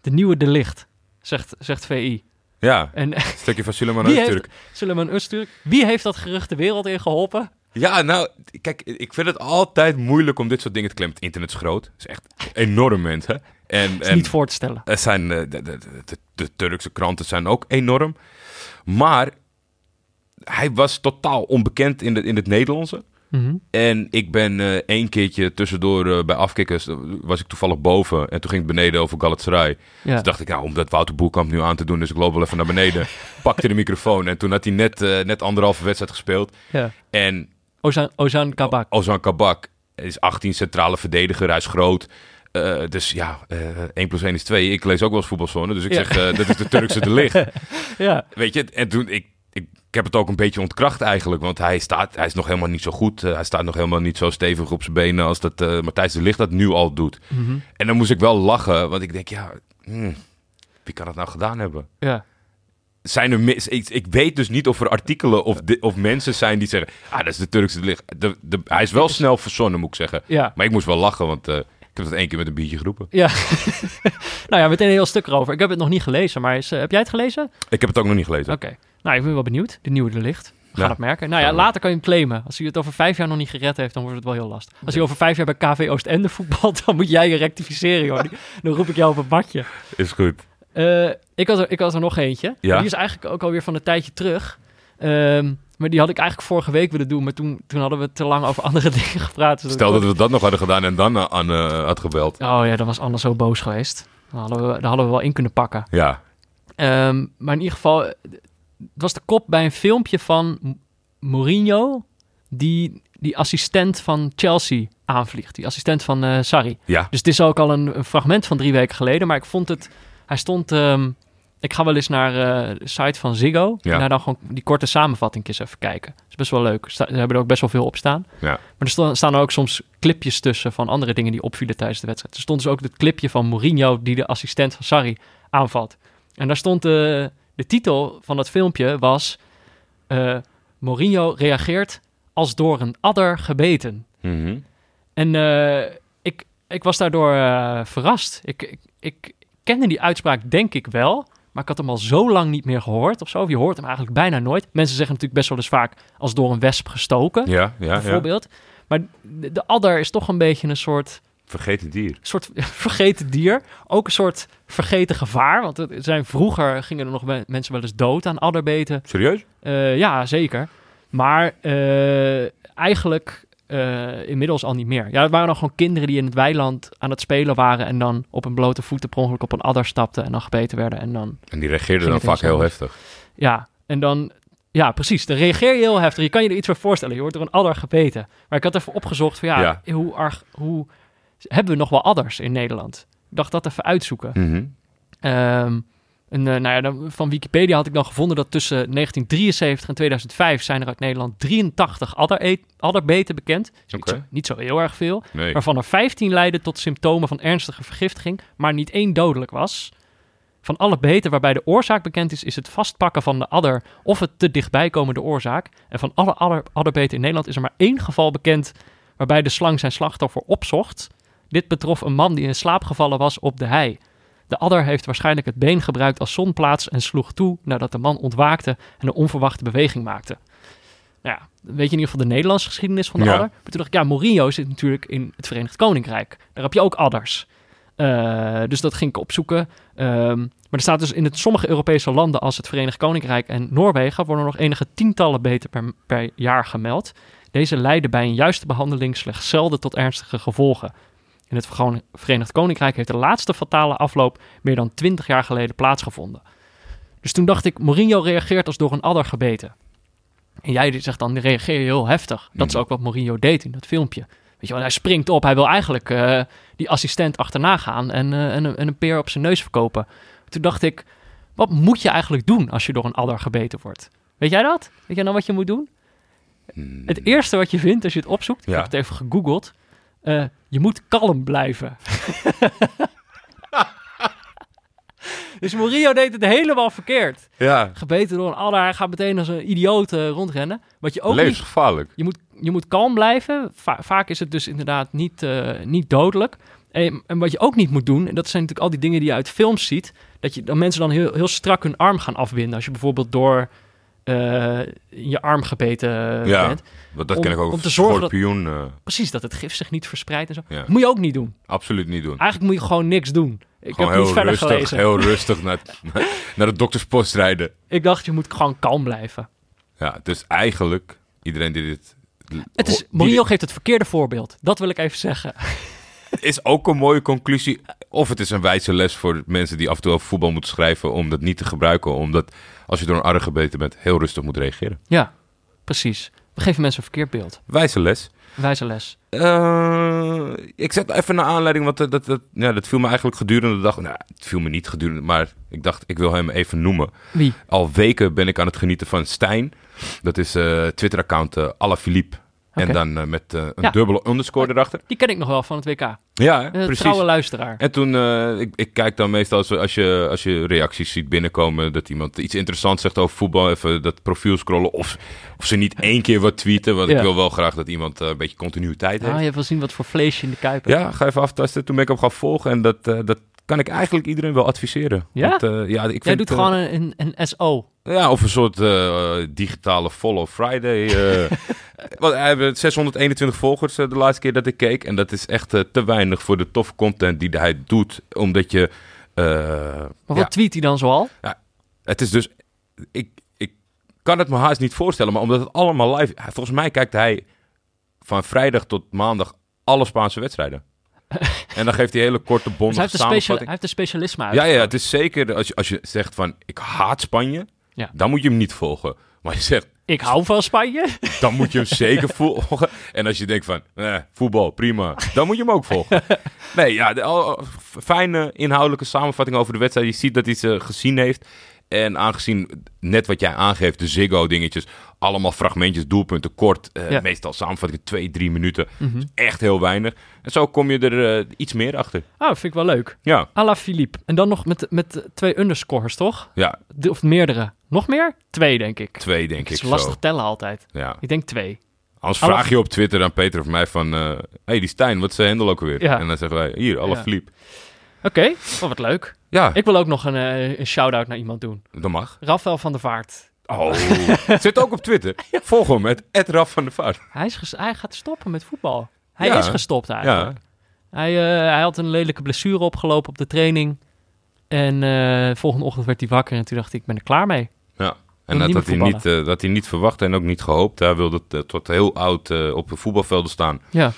Speaker 1: De nieuwe De Licht, zegt, zegt VI.
Speaker 4: Ja,
Speaker 1: En
Speaker 4: een stukje van
Speaker 1: [LAUGHS]
Speaker 4: Suleiman
Speaker 1: wie
Speaker 4: natuurlijk.
Speaker 1: Eh, heeft, Suleiman Öztürk, wie heeft dat gerucht de wereld in geholpen?
Speaker 4: Ja, nou, kijk, ik vind het altijd moeilijk om dit soort dingen te klemmen. Het internet is groot. Het is echt enorm, mensen. En,
Speaker 1: Is
Speaker 4: en-
Speaker 1: niet voor te stellen.
Speaker 4: Er zijn, eh, de, de, de, de Turkse kranten zijn ook enorm. Maar hij was totaal onbekend in, de, in het Nederlandse.
Speaker 1: Mhm.
Speaker 4: En ik ben eh één keertje tussendoor eh, bij afkikkers, eh, was ik toevallig boven. En toen ging ik beneden over Galatasaray.
Speaker 1: Ja.
Speaker 4: Dus dacht ik, nou, om dat Wouter Boelkamp nu aan te doen, dus ik loop wel even naar beneden.
Speaker 1: [LAUGHS]
Speaker 4: pakte de microfoon en toen had hij net, eh, net anderhalve wedstrijd gespeeld.
Speaker 1: Ja.
Speaker 4: En
Speaker 1: Ozan, Ozan Kabak.
Speaker 4: Ozan Oh, Kabak is 18 centrale verdediger. Hij is groot. Eh, dus ja, eh 1 plus 1 is 2. Ik lees ook wel eens voetbalzone. Dus ik
Speaker 1: Ja.
Speaker 4: zeg, eh, dat is de Turkse de
Speaker 1: [LAUGHS]
Speaker 4: licht.
Speaker 1: Ja.
Speaker 4: Weet je, en toen ik, ik, ik heb het ook een beetje ontkracht eigenlijk. Want hij, staat, hij is nog helemaal niet zo goed. Eh, hij staat nog helemaal niet zo stevig op zijn benen als dat eh Matthijs de Ligt dat nu al doet.
Speaker 1: Mhm.
Speaker 4: En dan moest ik wel lachen, want ik denk, ja, hmm, wie kan dat nou gedaan hebben?
Speaker 1: ja.
Speaker 4: zijn er mis, ik, ik weet dus niet of er artikelen of, di- of mensen zijn die zeggen... Ah, dat is de Turkse licht. De, de, hij is wel snel verzonnen, moet ik zeggen.
Speaker 1: Ja.
Speaker 4: Maar ik moest wel lachen, want eh, ik heb dat één keer met een biertje geroepen.
Speaker 1: Ja. [LAUGHS] nou ja, meteen een heel stuk erover. Ik heb het nog niet gelezen, maar is, eh, heb jij het gelezen? Oké.
Speaker 4: Ik heb het ook nog niet gelezen.
Speaker 1: Nou, ik ben wel benieuwd. De nieuwe De Licht. We gaan
Speaker 4: Ja.
Speaker 1: het merken. Nou ja,
Speaker 4: Ja.
Speaker 1: later kan je hem claimen. Als hij het over vijf jaar nog niet gered heeft, dan wordt het wel heel lastig. Als hij over vijf jaar bij KV Oostende voetbalt, [LAUGHS] dan moet jij je rectificeren, Jordi. Dan roep ik jou op het badje.
Speaker 4: Is goed.
Speaker 1: Eh, ik, had er, ik had er nog eentje.
Speaker 4: Ja?
Speaker 1: Die is eigenlijk ook alweer van een tijdje terug. Ehm, maar die had ik eigenlijk vorige week willen doen, maar toen, toen hadden we te lang over [LAUGHS] andere dingen gepraat. dus dat
Speaker 4: Stel
Speaker 1: ik-
Speaker 4: dat we dat nog hadden gedaan en dan eh, Anne eh, had gebeld.
Speaker 1: Oh ja, dat was anders zo boos geweest. Dan hadden we, dan hadden we wel in kunnen pakken.
Speaker 4: Ja,
Speaker 1: Ehm, maar in ieder geval, eh, het was de kop bij een filmpje van M- Mourinho, die, die assistent van Chelsea aanvliegt. Die assistent van eh Sarri.
Speaker 4: ja.
Speaker 1: Dus het is ook al een, een fragment van drie weken geleden. Maar ik vond het. Hij stond. ehm, ik ga wel eens naar eh, de site van Ziggo.
Speaker 4: Ja.
Speaker 1: En daar dan gewoon die korte samenvattingjes even kijken. Dat is best wel leuk. Sta- Ze hebben er ook best wel veel op staan.
Speaker 4: Ja.
Speaker 1: Maar er sta- staan er ook soms clipjes tussen van andere dingen die opvielen tijdens de wedstrijd. Er stond dus ook het clipje van Mourinho die de assistent van Sarri aanvalt. En daar stond eh, de titel van dat filmpje was... eh, Mourinho reageert als door een adder gebeten.
Speaker 4: Mhm.
Speaker 1: En eh, ik, ik was daardoor eh, verrast. Ik, ik, ik kende die uitspraak denk ik wel, maar ik had hem al zo lang niet meer gehoord of zo. Of Je hoort hem eigenlijk bijna nooit. Mensen zeggen natuurlijk best wel eens vaak als door een wesp gestoken,
Speaker 4: Ja, ja, ja.
Speaker 1: bijvoorbeeld. Maar de, de adder is toch een beetje een soort,
Speaker 4: Vergeet het dier.
Speaker 1: soort [LAUGHS] vergeten dier. Ook een soort vergeten gevaar. Want het zijn, vroeger gingen er nog we- mensen wel eens dood aan adderbeten.
Speaker 4: Serieus?
Speaker 1: Eh, ja, zeker. Maar eh, eigenlijk eh, inmiddels al niet meer. Ja, het waren nog gewoon kinderen die in het weiland aan het spelen waren... en dan op een blote voeten per ongeluk op een adder stapten... en dan gebeten werden. En dan,
Speaker 4: En die
Speaker 1: Ging
Speaker 4: reageerde dan
Speaker 1: het
Speaker 4: vaak heel
Speaker 1: anders?
Speaker 4: heftig.
Speaker 1: ja, en dan... Ja, precies. Dan reageer je heel heftig. Je kan je er iets bij voorstellen. Je wordt door een adder gebeten. Maar ik had even opgezocht van ja,
Speaker 4: Ja.
Speaker 1: hoe arg... Hoe, hebben we nog wel adders in Nederland? Ik dacht dat even uitzoeken.
Speaker 4: Mhm.
Speaker 1: Ehm, en, eh, nou ja, dan, van Wikipedia had ik dan gevonden dat tussen 1973 en 2005 zijn er uit Nederland 83 adder, adderbeten bekend. Dus niet,
Speaker 4: Oké.
Speaker 1: zo, niet zo heel erg veel.
Speaker 4: Nee.
Speaker 1: Waarvan er 15 leidden tot symptomen van ernstige vergiftiging, maar niet één dodelijk was. Van alle beten waarbij de oorzaak bekend is, is het vastpakken van de adder of het te dichtbij komen de oorzaak. En van alle adder, adderbeten in Nederland is er maar één geval bekend waarbij de slang zijn slachtoffer opzocht. Dit betrof een man die in slaap gevallen was op de hei. De adder heeft waarschijnlijk het been gebruikt als zonplaats en sloeg toe nadat de man ontwaakte en een onverwachte beweging maakte. Nou ja, weet je in ieder geval de Nederlandse geschiedenis van de
Speaker 4: Ja.
Speaker 1: adder? Maar toen dacht ik, ja, Mourinho zit natuurlijk in het Verenigd Koninkrijk. Daar heb je ook adders. Eh, dus dat ging ik opzoeken. Ehm, maar er staat dus in het, sommige Europese landen als het Verenigd Koninkrijk en Noorwegen worden nog enige tientallen beten per, per jaar gemeld. Deze leiden bij een juiste behandeling slechts zelden tot ernstige gevolgen. In het Vergo- Verenigd Koninkrijk heeft de laatste fatale afloop meer dan 20 jaar geleden plaatsgevonden. Dus toen dacht ik, Mourinho reageert als door een adder gebeten. En jij die zegt dan, reageer je heel heftig. Dat is ook wat Mourinho deed in dat filmpje. Weet je wel, hij springt op, hij wil eigenlijk eh, die assistent achterna gaan en, eh, en, een- en een peer op zijn neus verkopen. Toen dacht ik, wat moet je eigenlijk doen als je door een adder gebeten wordt? Weet jij dat? Weet jij nou wat je moet doen? Het eerste wat je vindt als je het opzoekt,
Speaker 4: Ja.
Speaker 1: ik heb het even gegoogeld, eh, je moet kalm blijven. dus Mourinho deed het helemaal verkeerd.
Speaker 4: Ja,
Speaker 1: Gebeten door een adder, hij gaat meteen als een idioot eh, rondrennen. Wat je ook niet
Speaker 4: levensgevaarlijk.
Speaker 1: je moet, je moet kalm blijven. Va- vaak is het dus inderdaad niet, eh, niet dodelijk. En, en wat je ook niet moet doen, en dat zijn natuurlijk al die dingen die je uit films ziet, dat, je, dat mensen dan heel, heel strak hun arm gaan afwinden. Als je bijvoorbeeld door eh, in je arm gebeten eh,
Speaker 4: Ja.
Speaker 1: bent.
Speaker 4: Want dat
Speaker 1: Om-
Speaker 4: ken ik ook.
Speaker 1: om te zorgen dat-
Speaker 4: Schorpioen, eh,
Speaker 1: Precies, dat het gif zich niet verspreidt en zo.
Speaker 4: Ja.
Speaker 1: Moet je ook niet doen.
Speaker 4: absoluut niet doen.
Speaker 1: Eigenlijk moet je gewoon niks doen. Ik
Speaker 4: Gewoon
Speaker 1: heb niet
Speaker 4: heel
Speaker 1: verder
Speaker 4: rustig,
Speaker 1: gelezen. [LAUGHS]
Speaker 4: heel rustig naar, naar, naar de dokterspost rijden.
Speaker 1: Ik dacht, je moet gewoon kalm blijven.
Speaker 4: Ja, dus eigenlijk, iedereen die dit...
Speaker 1: Het is,
Speaker 4: die-
Speaker 1: Mourinho geeft het verkeerde voorbeeld. Dat wil ik even zeggen.
Speaker 4: is ook een mooie conclusie. Of het is een wijze les voor mensen die af en toe over voetbal moeten schrijven... om dat niet te gebruiken. Omdat als je door een arre gebeten bent, heel rustig moet reageren.
Speaker 1: Ja, precies. We geven mensen een verkeerd beeld.
Speaker 4: Wijze les.
Speaker 1: Wijze les.
Speaker 4: Eh, ik zet even naar aanleiding, want dat, dat, dat, ja, dat viel me eigenlijk gedurende de dag... Nou, het viel me niet gedurende, maar ik dacht, ik wil hem even noemen.
Speaker 1: Wie?
Speaker 4: Al weken ben ik aan het genieten van Stijn. Dat is eh Twitter-account eh Alaphilippe. En
Speaker 1: Oké.
Speaker 4: dan eh, met eh, een
Speaker 1: Ja.
Speaker 4: dubbele underscore erachter.
Speaker 1: Die ken ik nog wel van het WK.
Speaker 4: Ja, hè,
Speaker 1: Eh,
Speaker 4: precies.
Speaker 1: trouwe luisteraar.
Speaker 4: En toen, eh, ik, ik kijk dan meestal als, als, je, als je reacties ziet binnenkomen... dat iemand iets interessants zegt over voetbal, even dat profiel scrollen... of, of ze niet één keer wat tweeten, want
Speaker 1: Ja.
Speaker 4: ik wil wel graag dat iemand eh, een beetje continuïteit heeft.
Speaker 1: Ah, je wil zien wat voor vleesje in de kuip hebt.
Speaker 4: Ja, ga even aftasten. Toen ben ik hem gaan volgen en dat, eh, dat kan ik eigenlijk iedereen wel adviseren.
Speaker 1: Ja?
Speaker 4: Want, eh, ja, ik vind,
Speaker 1: Jij doet
Speaker 4: eh,
Speaker 1: gewoon een, een, een SO.
Speaker 4: Ja, of een soort eh, digitale Follow Friday.
Speaker 1: [LAUGHS]
Speaker 4: eh. Want hij heeft 621 volgers eh, de laatste keer dat ik keek. En dat is echt eh, te weinig voor de toffe content die hij doet. Omdat je... eh,
Speaker 1: Maar
Speaker 4: ja,
Speaker 1: wat tweet hij dan zoal?
Speaker 4: het is dus... Ik, ik kan het me haast niet voorstellen, maar omdat het allemaal live... hij- Volgens mij kijkt hij van vrijdag tot maandag alle
Speaker 1: [LAUGHS]
Speaker 4: Spaanse wedstrijden. en dan geeft hij hele korte
Speaker 1: Dus
Speaker 4: bondige
Speaker 1: hij heeft, een special, hij
Speaker 4: samenvatting.
Speaker 1: heeft een specialisme uit.
Speaker 4: Ja, ja, het is zeker als je, als je zegt van ik haat Spanje,
Speaker 1: Ja.
Speaker 4: dan moet je hem niet volgen. Maar je zegt,
Speaker 1: Ik hou van Spanje. [LAUGHS]
Speaker 4: dan moet je hem zeker volgen. En als je denkt van, eh, voetbal, prima, dan moet je hem ook volgen. Nee, ja, de, al- al- f- fijne inhoudelijke samenvatting over de wedstrijd. Je ziet dat hij ze gezien heeft. En aangezien, net wat jij aangeeft, de Ziggo-dingetjes, allemaal fragmentjes, doelpunten, kort. eh,
Speaker 1: Ja. Mhm.
Speaker 4: Meestal samenvattingen twee, drie minuten. Dat is echt heel weinig. En zo kom je er eh, iets meer achter.
Speaker 1: Ah, vind ik wel leuk.
Speaker 4: Ja,
Speaker 1: Ala Philippe. En dan nog met, met twee underscores, toch?
Speaker 4: ja
Speaker 1: De- of meerdere. Nog meer? Twee, denk ik.
Speaker 4: twee denk
Speaker 1: Het is
Speaker 4: ik
Speaker 1: lastig
Speaker 4: zo.
Speaker 1: tellen altijd.
Speaker 4: Ja.
Speaker 1: Ik denk twee.
Speaker 4: Anders
Speaker 1: Alle-
Speaker 4: vraag je op Twitter aan Peter of mij van... eh hey, die Stijn, wat is zijn hendel ook alweer?
Speaker 1: Ja.
Speaker 4: En dan zeggen wij, hier, alle
Speaker 1: Ja.
Speaker 4: Philippe.
Speaker 1: Oké, oh, wat leuk.
Speaker 4: Ja,
Speaker 1: Ik wil ook nog een, eh, een shout-out naar iemand doen.
Speaker 4: dat mag.
Speaker 1: Rafael van der Vaart.
Speaker 4: Oh. [LAUGHS] Zit ook op Twitter. Volg hem, het Raf van de Vaart.
Speaker 1: Hij, is ges- hij gaat stoppen met voetbal. Hij
Speaker 4: Ja.
Speaker 1: is gestopt
Speaker 4: Ja.
Speaker 1: eigenlijk. Hij, eh, hij had een lelijke blessure opgelopen op de training. En eh, volgende ochtend werd hij wakker en toen dacht ik, ik ben er klaar mee.
Speaker 4: ja.
Speaker 1: Wil
Speaker 4: En dat,
Speaker 1: niet
Speaker 4: had hij
Speaker 1: meer
Speaker 4: niet, eh, dat had hij niet verwacht en ook niet gehoopt. Hij wilde eh, tot heel oud eh, op de voetbalvelden staan.
Speaker 1: Ja.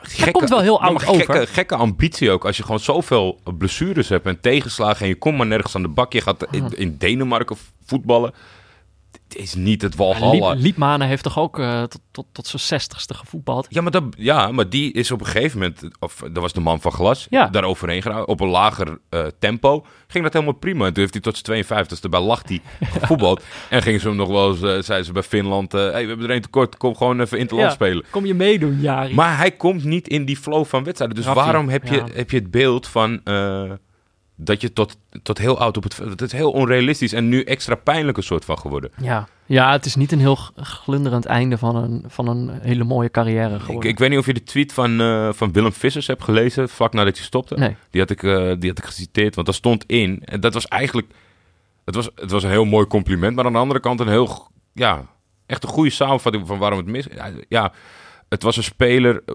Speaker 4: Gekke,
Speaker 1: komt wel heel
Speaker 4: Ja, maar
Speaker 1: oud
Speaker 4: gekke,
Speaker 1: over.
Speaker 4: Gekke ambitie ook. Als je gewoon zoveel blessures hebt en tegenslagen... en je komt maar nergens aan de bak. Je gaat in, in Denemarken voetballen. Dit is niet het
Speaker 1: Ja, Liep,
Speaker 4: Walhalla.
Speaker 1: Liepmanen heeft toch ook eh, tot, tot, tot zijn zestigste gevoetbald.
Speaker 4: Ja maar, dat, ja, maar die is op een gegeven moment, of dat was de man van glas,
Speaker 1: Ja.
Speaker 4: daar overheen gegaan. Op een lager eh, tempo ging dat helemaal prima. En toen heeft hij tot zijn 52e bij
Speaker 1: [LAUGHS]
Speaker 4: Lahti gevoetbald. En gingen ze hem nog wel eens, eh, zeiden ze bij Finland, eh, hey, we hebben er één tekort, kom gewoon even interland
Speaker 1: Ja.
Speaker 4: spelen.
Speaker 1: Kom je meedoen, Jari?
Speaker 4: Maar hij komt niet in die flow van wedstrijden. Dus
Speaker 1: Rafi,
Speaker 4: waarom heb je,
Speaker 1: ja.
Speaker 4: heb je het beeld van eh, dat je tot, tot heel oud op het veld... Dat is heel onrealistisch en nu extra pijnlijk een soort van geworden.
Speaker 1: Ja. ja, het is niet een heel g- glunderend einde van een, van een hele mooie carrière
Speaker 4: Ik,
Speaker 1: eh, geworden.
Speaker 4: ik weet niet of je de tweet van, eh, van Willem Vissers hebt gelezen, vlak nadat je stopte.
Speaker 1: Nee.
Speaker 4: Die, had ik, eh, die had ik geciteerd, want daar stond in. En dat was eigenlijk... Het was, het was een heel mooi compliment, maar aan de andere kant een heel... g- Ja, echt een goede samenvatting van waarom het mis... Ja, ja het was een speler eh,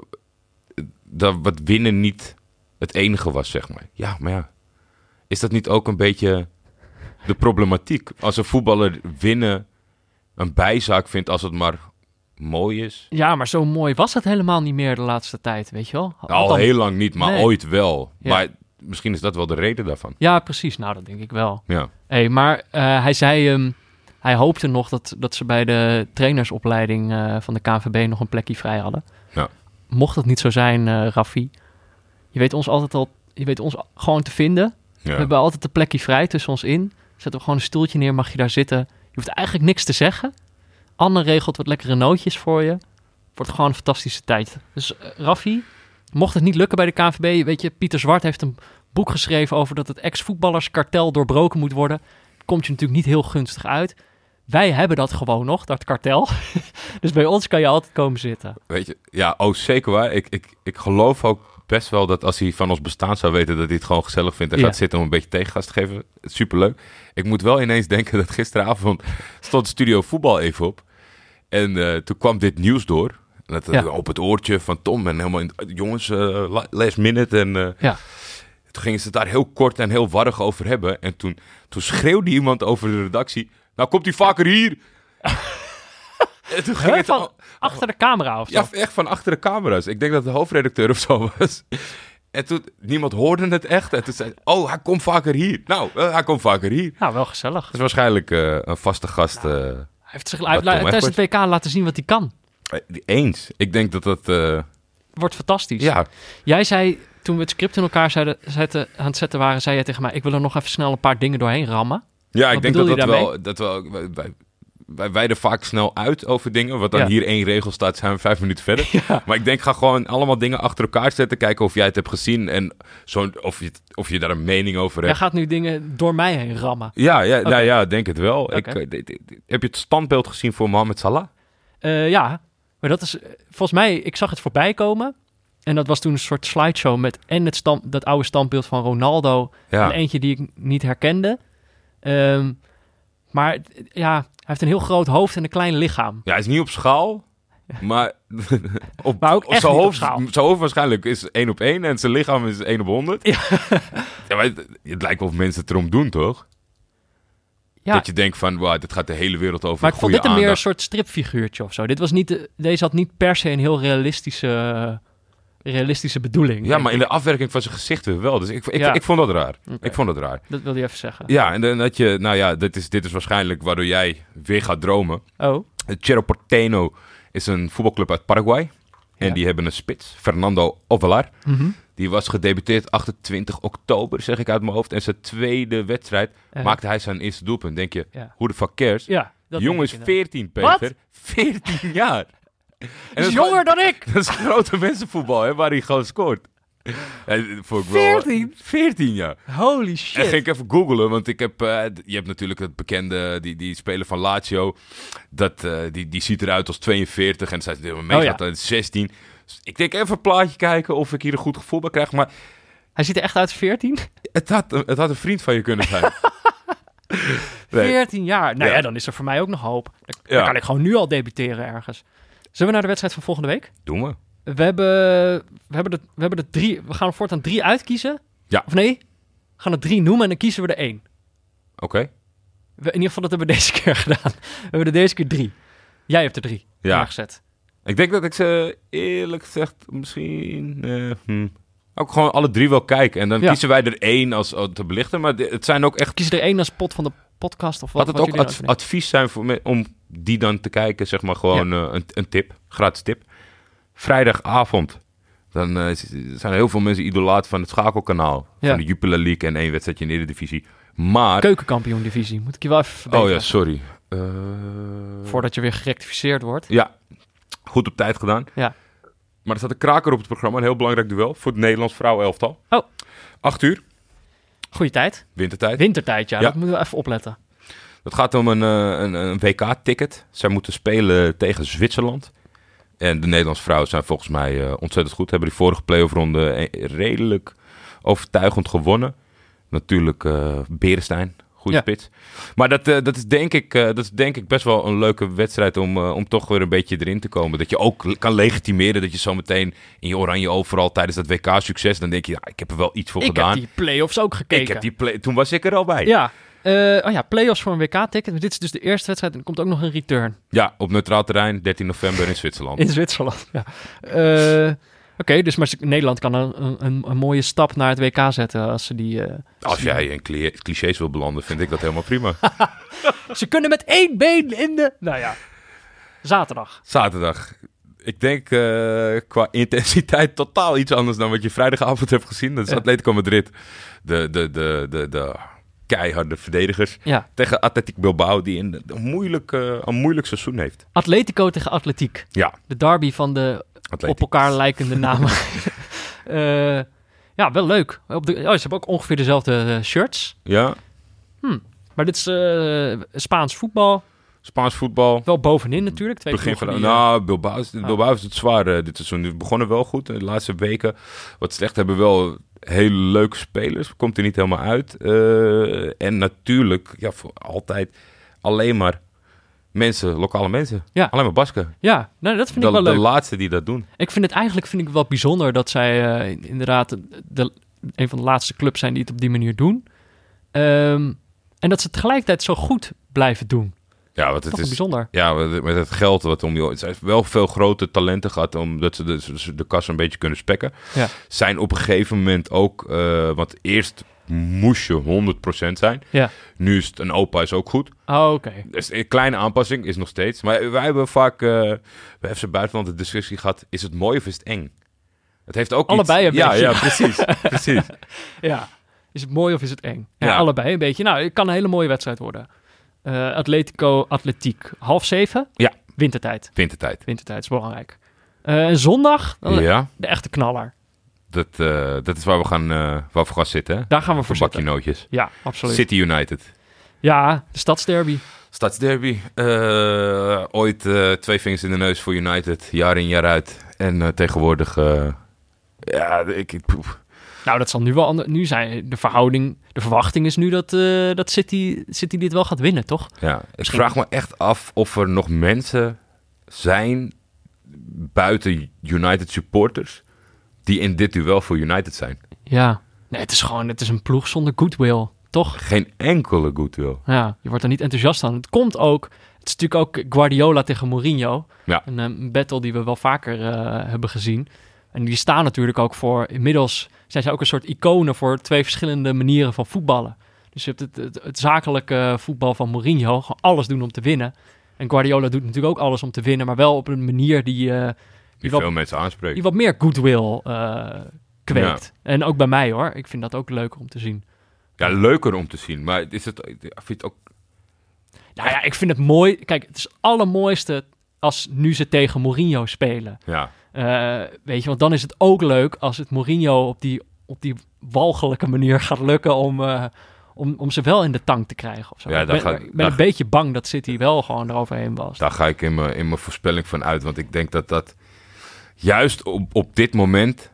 Speaker 4: dat wat winnen niet het enige was, zeg maar. Ja, maar ja. Is dat niet ook een beetje de problematiek? Als een voetballer winnen een bijzaak vindt als het maar mooi is...
Speaker 1: Ja, maar zo mooi was het helemaal niet meer de laatste tijd, weet je wel?
Speaker 4: Nou, al
Speaker 1: Althans-
Speaker 4: heel lang niet, maar
Speaker 1: Nee.
Speaker 4: ooit wel.
Speaker 1: Ja.
Speaker 4: Maar misschien is dat wel de reden daarvan.
Speaker 1: Ja, precies. Nou, dat denk ik wel.
Speaker 4: Ja.
Speaker 1: Hey, maar eh, hij zei, ehm, hij hoopte nog dat, dat ze bij de trainersopleiding eh, van de KNVB nog een plekje vrij hadden.
Speaker 4: Ja.
Speaker 1: Mocht dat niet zo zijn, eh Raffi, je weet ons altijd al, je weet ons gewoon te vinden.
Speaker 4: Ja.
Speaker 1: We hebben altijd een plekje vrij tussen ons in. Zetten we gewoon een stoeltje neer, mag je daar zitten. Je hoeft eigenlijk niks te zeggen. Anne regelt wat lekkere nootjes voor je. Wordt gewoon een fantastische tijd. Dus eh, Raffi, mocht het niet lukken bij de KNVB... weet je, Pieter Zwart heeft een boek geschreven... over dat het ex-voetballerskartel doorbroken moet worden. Komt je natuurlijk niet heel gunstig uit. Wij hebben dat gewoon nog, dat kartel. [LAUGHS] dus bij ons kan je altijd komen zitten.
Speaker 4: Weet je, ja, oh zeker waar. Ik, ik, ik geloof ook best wel dat als hij van ons bestaan zou weten dat hij het gewoon gezellig vindt en
Speaker 1: Ja.
Speaker 4: gaat zitten om een beetje tegengas te geven. Superleuk. Ik moet wel ineens denken dat gisteravond stond Studio Voetbal even op. En eh, toen kwam dit nieuws door. En Dat, eh,
Speaker 1: Ja.
Speaker 4: Op het oortje van Tom en helemaal in, jongens, eh, la- last minute. En eh,
Speaker 1: Ja.
Speaker 4: toen gingen ze het daar heel kort en heel warrig over hebben. En toen, toen schreeuwde iemand over de redactie, nou komt hij vaker [LAUGHS] hier. en toen ging
Speaker 1: Hè, Oh.
Speaker 4: het
Speaker 1: van
Speaker 4: al-
Speaker 1: achter de camera of zo.
Speaker 4: ja, echt van achter de camera's. Ik denk dat de hoofdredacteur of zo was. En toen, niemand hoorde het echt. En toen zei oh, hij komt vaker hier. Nou, eh, hij komt vaker hier.
Speaker 1: Nou, wel gezellig.
Speaker 4: Dat is waarschijnlijk eh, een vaste gast. eh,
Speaker 1: Hij heeft zich la-
Speaker 4: Tom
Speaker 1: tijdens het WK
Speaker 4: Egbert.
Speaker 1: laten zien wat hij kan.
Speaker 4: die eens. Ik denk dat dat, eh,
Speaker 1: Wordt fantastisch.
Speaker 4: ja,
Speaker 1: Jij zei, toen we het script in elkaar zeiden, zetten, aan het zetten waren, zei jij tegen mij, ik wil er nog even snel een paar dingen doorheen rammen.
Speaker 4: Ja,
Speaker 1: Wat
Speaker 4: ik denk dat
Speaker 1: bedoel
Speaker 4: dat
Speaker 1: je
Speaker 4: wel, dat wel. Wij, wij- wij wijden vaak snel uit over dingen. Wat dan
Speaker 1: Ja.
Speaker 4: hier één regel staat, zijn we vijf minuten
Speaker 1: [LAUGHS]
Speaker 4: verder. Maar ik denk, ga gewoon allemaal dingen achter elkaar zetten. Kijken of jij het hebt gezien en zo, of, je, het- of je daar een mening over
Speaker 1: Jij
Speaker 4: hebt.
Speaker 1: gaat nu dingen door mij heen rammen.
Speaker 4: Ja, ja, nou ja, denk het wel. Ik,
Speaker 1: Oké.
Speaker 4: eh, dit- dit- dit- heb je het standbeeld gezien voor Mohamed Salah?
Speaker 1: Eh, ja, maar dat is, eh, volgens mij, ik zag het voorbij komen. En dat was toen een soort slideshow met en het stam, dat oude standbeeld van Ronaldo.
Speaker 4: Ja.
Speaker 1: En eentje die ik niet herkende. Ehm, maar eh, ja, hij heeft een heel groot hoofd en een klein lichaam.
Speaker 4: Ja, hij is niet op schaal,
Speaker 1: [LAUGHS]
Speaker 4: maar op,
Speaker 1: Maar ook echt
Speaker 4: zijn,
Speaker 1: niet op
Speaker 4: hoofd,
Speaker 1: schaal.
Speaker 4: zijn hoofd waarschijnlijk is één op één en zijn lichaam is [LAUGHS] één op honderd. Ja. maar het, het lijkt wel of mensen het erom doen, toch?
Speaker 1: Ja.
Speaker 4: Dat je denkt van, wauw, dit gaat de hele wereld over.
Speaker 1: Maar ik vond
Speaker 4: goede
Speaker 1: dit een meer een
Speaker 4: aandacht.
Speaker 1: soort stripfiguurtje of zo. Dit was niet, de- deze had niet per se een heel realistische, eh, realistische bedoeling.
Speaker 4: Ja, maar in de afwerking van zijn gezicht weer wel. Dus ik, ik,
Speaker 1: Ja.
Speaker 4: ik vond dat raar.
Speaker 1: Oké.
Speaker 4: Ik vond dat raar.
Speaker 1: Dat wilde je even zeggen.
Speaker 4: Ja, en dan had je, nou ja, dit is, dit is waarschijnlijk waardoor jij weer gaat dromen.
Speaker 1: Oh,
Speaker 4: Eh, Cerro Porteño is een voetbalclub uit Paraguay. En
Speaker 1: Ja.
Speaker 4: die hebben een spits, Fernando Ovelar.
Speaker 1: Mhm.
Speaker 4: Die was gedebuteerd 28 oktober, zeg ik uit mijn hoofd. En zijn tweede wedstrijd
Speaker 1: Eh.
Speaker 4: maakte hij zijn eerste doelpunt. Denk je,
Speaker 1: Ja.
Speaker 4: hoe de fuck cares?
Speaker 1: ja. dat
Speaker 4: Jongen is
Speaker 1: denk ik
Speaker 4: 14, Peter.
Speaker 1: Wat?
Speaker 4: 14 [LAUGHS] jaar. En
Speaker 1: inderdaad.
Speaker 4: dat
Speaker 1: Is
Speaker 4: is-
Speaker 1: jonger dan ik!
Speaker 4: [LAUGHS] Dat is grote mensenvoetbal, hè, waar hij gewoon
Speaker 1: [LAUGHS]
Speaker 4: scoort. En voor
Speaker 1: 14?
Speaker 4: 14 jaar.
Speaker 1: Holy
Speaker 4: En ging
Speaker 1: shit.
Speaker 4: ik even googelen, want ik heb, eh, d- je hebt natuurlijk het bekende, die, die speler van Lazio. Dat, eh, die, die ziet eruit als 42 en zij is mee
Speaker 1: Oh ja.
Speaker 4: gaat 16. Dus ik denk even een plaatje kijken of ik hier een goed gevoel bij krijg. Maar
Speaker 1: Hij ziet er echt uit als 14.
Speaker 4: het had, het had een vriend van je kunnen
Speaker 1: [LAUGHS]
Speaker 4: zijn. Nee.
Speaker 1: 14 jaar. Nou ja.
Speaker 4: Ja.
Speaker 1: dan is er voor mij ook nog hoop. Dan, dan
Speaker 4: Ja.
Speaker 1: kan ik gewoon nu al debuteren ergens. Zullen we naar de wedstrijd van volgende week?
Speaker 4: Doen we.
Speaker 1: We hebben, we hebben, de, we hebben de drie... We gaan er voortaan drie uitkiezen.
Speaker 4: Ja.
Speaker 1: Of nee, we gaan er drie noemen en dan kiezen we er één.
Speaker 4: Oké.
Speaker 1: We- in ieder geval, dat hebben we deze [LAUGHS] keer gedaan. We hebben er deze keer drie. Jij hebt er drie
Speaker 4: Ja.
Speaker 1: aangezet.
Speaker 4: Ik denk dat ik ze eerlijk gezegd misschien... eh, hm, Ook gewoon alle drie wel kijken. En dan
Speaker 1: Ja.
Speaker 4: kiezen wij er één als, als te belichten. Maar de- het zijn ook echt...
Speaker 1: Kies er één als pot van de podcast of wat.
Speaker 4: Had het
Speaker 1: wat
Speaker 4: ook
Speaker 1: jullie
Speaker 4: ad-
Speaker 1: erover denken.
Speaker 4: advies zijn voor me, om die dan te kijken, zeg maar gewoon eh, een, een tip, gratis tip. Vrijdagavond, dan eh, z- zijn er heel veel mensen idolaat van het schakelkanaal.
Speaker 1: Ja.
Speaker 4: Van de Jupiler League en één wedstrijdje in de Eredivisie. Maar,
Speaker 1: Keukenkampioen divisie. Moet ik je wel even verbeteren.
Speaker 4: oh ja, sorry. Eh,
Speaker 1: Voordat je weer gerectificeerd wordt.
Speaker 4: Ja, goed op tijd gedaan.
Speaker 1: Ja.
Speaker 4: Maar er staat een kraker op het programma, een heel belangrijk duel voor het Nederlands vrouwenelftal.
Speaker 1: Oh.
Speaker 4: Acht uur,
Speaker 1: Goeie tijd.
Speaker 4: wintertijd.
Speaker 1: Wintertijd, ja.
Speaker 4: Ja.
Speaker 1: Dat moeten we even opletten.
Speaker 4: Het gaat om een, eh, een, een WK-ticket. Zij moeten spelen tegen Zwitserland. En de Nederlandse vrouwen zijn volgens mij eh, ontzettend goed. Hebben die vorige playoffronde eh, redelijk overtuigend gewonnen. Natuurlijk eh Berestein, goede
Speaker 1: Ja.
Speaker 4: spits. Maar dat, eh, dat, is denk ik, eh, dat is denk ik best wel een leuke wedstrijd om, eh, om toch weer een beetje erin te komen. Dat je ook le- kan legitimeren dat je zo meteen in je oranje overal tijdens dat WK-succes... dan denk je, ja, ik heb er wel iets voor
Speaker 1: Ik
Speaker 4: gedaan.
Speaker 1: heb die play-offs ook gekeken.
Speaker 4: ik heb die play- Toen was ik er al bij.
Speaker 1: Ja. Eh, oh ja, play-offs voor een WK-ticket. Maar dit is dus de eerste wedstrijd en er komt ook nog een return
Speaker 4: Ja, op neutraal terrein, 13 november in Zwitserland.
Speaker 1: in Zwitserland. Ja. Eh, Oké, dus maar Nederland kan een, een- een, een mooie stap naar het WK zetten als ze die... eh,
Speaker 4: Als jij in cli- clichés wil belanden, vind ik dat helemaal prima. [LAUGHS]
Speaker 1: Ze kunnen met één been in de... Nou ja, zaterdag.
Speaker 4: Zaterdag. Ik denk eh, qua intensiteit totaal iets anders dan wat je vrijdagavond hebt gezien. Dat is
Speaker 1: Ja.
Speaker 4: Atletico Madrid. De, de, de, de, de keiharde verdedigers.
Speaker 1: Ja,
Speaker 4: Tegen Atletico Bilbao, die een, een, moeilijk, eh, een moeilijk seizoen heeft.
Speaker 1: Atletico tegen Atletiek.
Speaker 4: Ja,
Speaker 1: De derby van de
Speaker 4: Atletico.
Speaker 1: op elkaar lijkende namen. [LAUGHS] Eh, ja, wel leuk. Op de, oh, ze hebben ook ongeveer dezelfde eh, shirts.
Speaker 4: Ja,
Speaker 1: Maar dit is eh, Spaans voetbal.
Speaker 4: Spaans voetbal.
Speaker 1: Wel bovenin natuurlijk. Twee
Speaker 4: Begin van,
Speaker 1: ploegen die, eh,
Speaker 4: nou, Bilbao is, Bilbao is het zwaar eh, dit seizoen. We begonnen wel goed eh, de laatste weken. Wat slecht hebben wel hele leuke spelers. Komt er niet helemaal uit. Eh, en natuurlijk, ja, voor altijd alleen maar mensen, lokale mensen.
Speaker 1: Ja.
Speaker 4: Alleen maar Basken.
Speaker 1: Ja, nou, dat vind
Speaker 4: De,
Speaker 1: ik wel
Speaker 4: de
Speaker 1: leuk.
Speaker 4: laatste die dat doen.
Speaker 1: Ik vind het eigenlijk vind ik wel bijzonder dat zij eh, in- inderdaad de, een van de laatste clubs zijn die het op die manier doen. Ehm, en dat ze tegelijkertijd zo goed blijven doen.
Speaker 4: Ja, want het
Speaker 1: Toch
Speaker 4: is...
Speaker 1: bijzonder.
Speaker 4: Ja, met- met het geld wat om je... Ze heeft wel veel grote talenten gehad... omdat ze de, ze de kas een beetje kunnen spekken.
Speaker 1: Ja.
Speaker 4: Zijn op een gegeven moment ook... eh, want eerst moest je 100% zijn.
Speaker 1: Ja.
Speaker 4: Nu is het een opa is ook goed.
Speaker 1: Oh, Oké.
Speaker 4: Dus een kleine aanpassing is nog steeds. Maar wij hebben vaak eh, bij FC Buitenland de discussie gehad... is het mooi of is het eng? Het heeft ook
Speaker 1: Allebei
Speaker 4: iets...
Speaker 1: een
Speaker 4: ja,
Speaker 1: beetje.
Speaker 4: Ja, precies. [LAUGHS] precies.
Speaker 1: Ja. Is het mooi of is het eng? Ja,
Speaker 4: Ja.
Speaker 1: Allebei een beetje. Nou, het kan een hele mooie wedstrijd worden. Eh, Atletico, Atletiek. Half zeven.
Speaker 4: Ja.
Speaker 1: Wintertijd.
Speaker 4: Wintertijd.
Speaker 1: Wintertijd is belangrijk. Eh, en zondag, dan
Speaker 4: Ja,
Speaker 1: de echte knaller.
Speaker 4: dat, eh, dat is waar we gaan, eh, waar we gaan zitten. hè?
Speaker 1: Daar gaan we voor
Speaker 4: Voor bakje
Speaker 1: zitten.
Speaker 4: nootjes.
Speaker 1: Ja, absoluut.
Speaker 4: City United.
Speaker 1: Ja, de stadsderby.
Speaker 4: Stadsderby. Eh, ooit eh, twee vingers in de neus voor United. Jaar in, jaar uit. En eh, tegenwoordig... eh, ja, ik... ik- poef.
Speaker 1: Nou, dat zal nu wel anders. Nu zijn de verhouding, de verwachting is nu dat, eh, dat City, City dit wel gaat winnen, toch?
Speaker 4: Ja, ik vraag me echt af of er nog mensen zijn buiten United supporters die in dit duel voor United zijn.
Speaker 1: Ja. Nee, het is gewoon, het is een ploeg zonder goodwill. toch?
Speaker 4: Geen enkele goodwill.
Speaker 1: Ja, je wordt er niet enthousiast aan. Het komt ook, het is natuurlijk ook Guardiola tegen Mourinho.
Speaker 4: Ja.
Speaker 1: Een eh, battle die we wel vaker eh, hebben gezien. En die staan natuurlijk ook voor, inmiddels zijn zij ook een soort iconen voor twee verschillende manieren van voetballen. Dus je hebt het, het, het zakelijke voetbal van Mourinho, gewoon alles doen om te winnen. En Guardiola doet natuurlijk ook alles om te winnen, maar wel op een manier die, eh,
Speaker 4: Die
Speaker 1: wat-
Speaker 4: veel mensen aanspreekt.
Speaker 1: die wat meer goodwill eh, kweekt. En ook bij mij hoor, ik vind dat ook leuk om te zien.
Speaker 4: Ja, leuker om te zien. Maar is het, ik vind het ook...
Speaker 1: Nou ja, ik vind het mooi. Kijk, het is het allermooiste als nu ze tegen Mourinho spelen.
Speaker 4: Ja,
Speaker 1: Eh, weet je, want dan is het ook leuk als het Mourinho op die, op die walgelijke manier gaat lukken om, eh, om, om ze wel in de tank te krijgen. Of zo.
Speaker 4: Ja,
Speaker 1: ik
Speaker 4: daar
Speaker 1: ben,
Speaker 4: gaat-
Speaker 1: ik ben
Speaker 4: daar-
Speaker 1: een beetje bang dat City wel gewoon eroverheen was.
Speaker 4: daar ga ik in mijn, in mijn voorspelling van uit. Want ik denk dat dat juist op, op dit moment...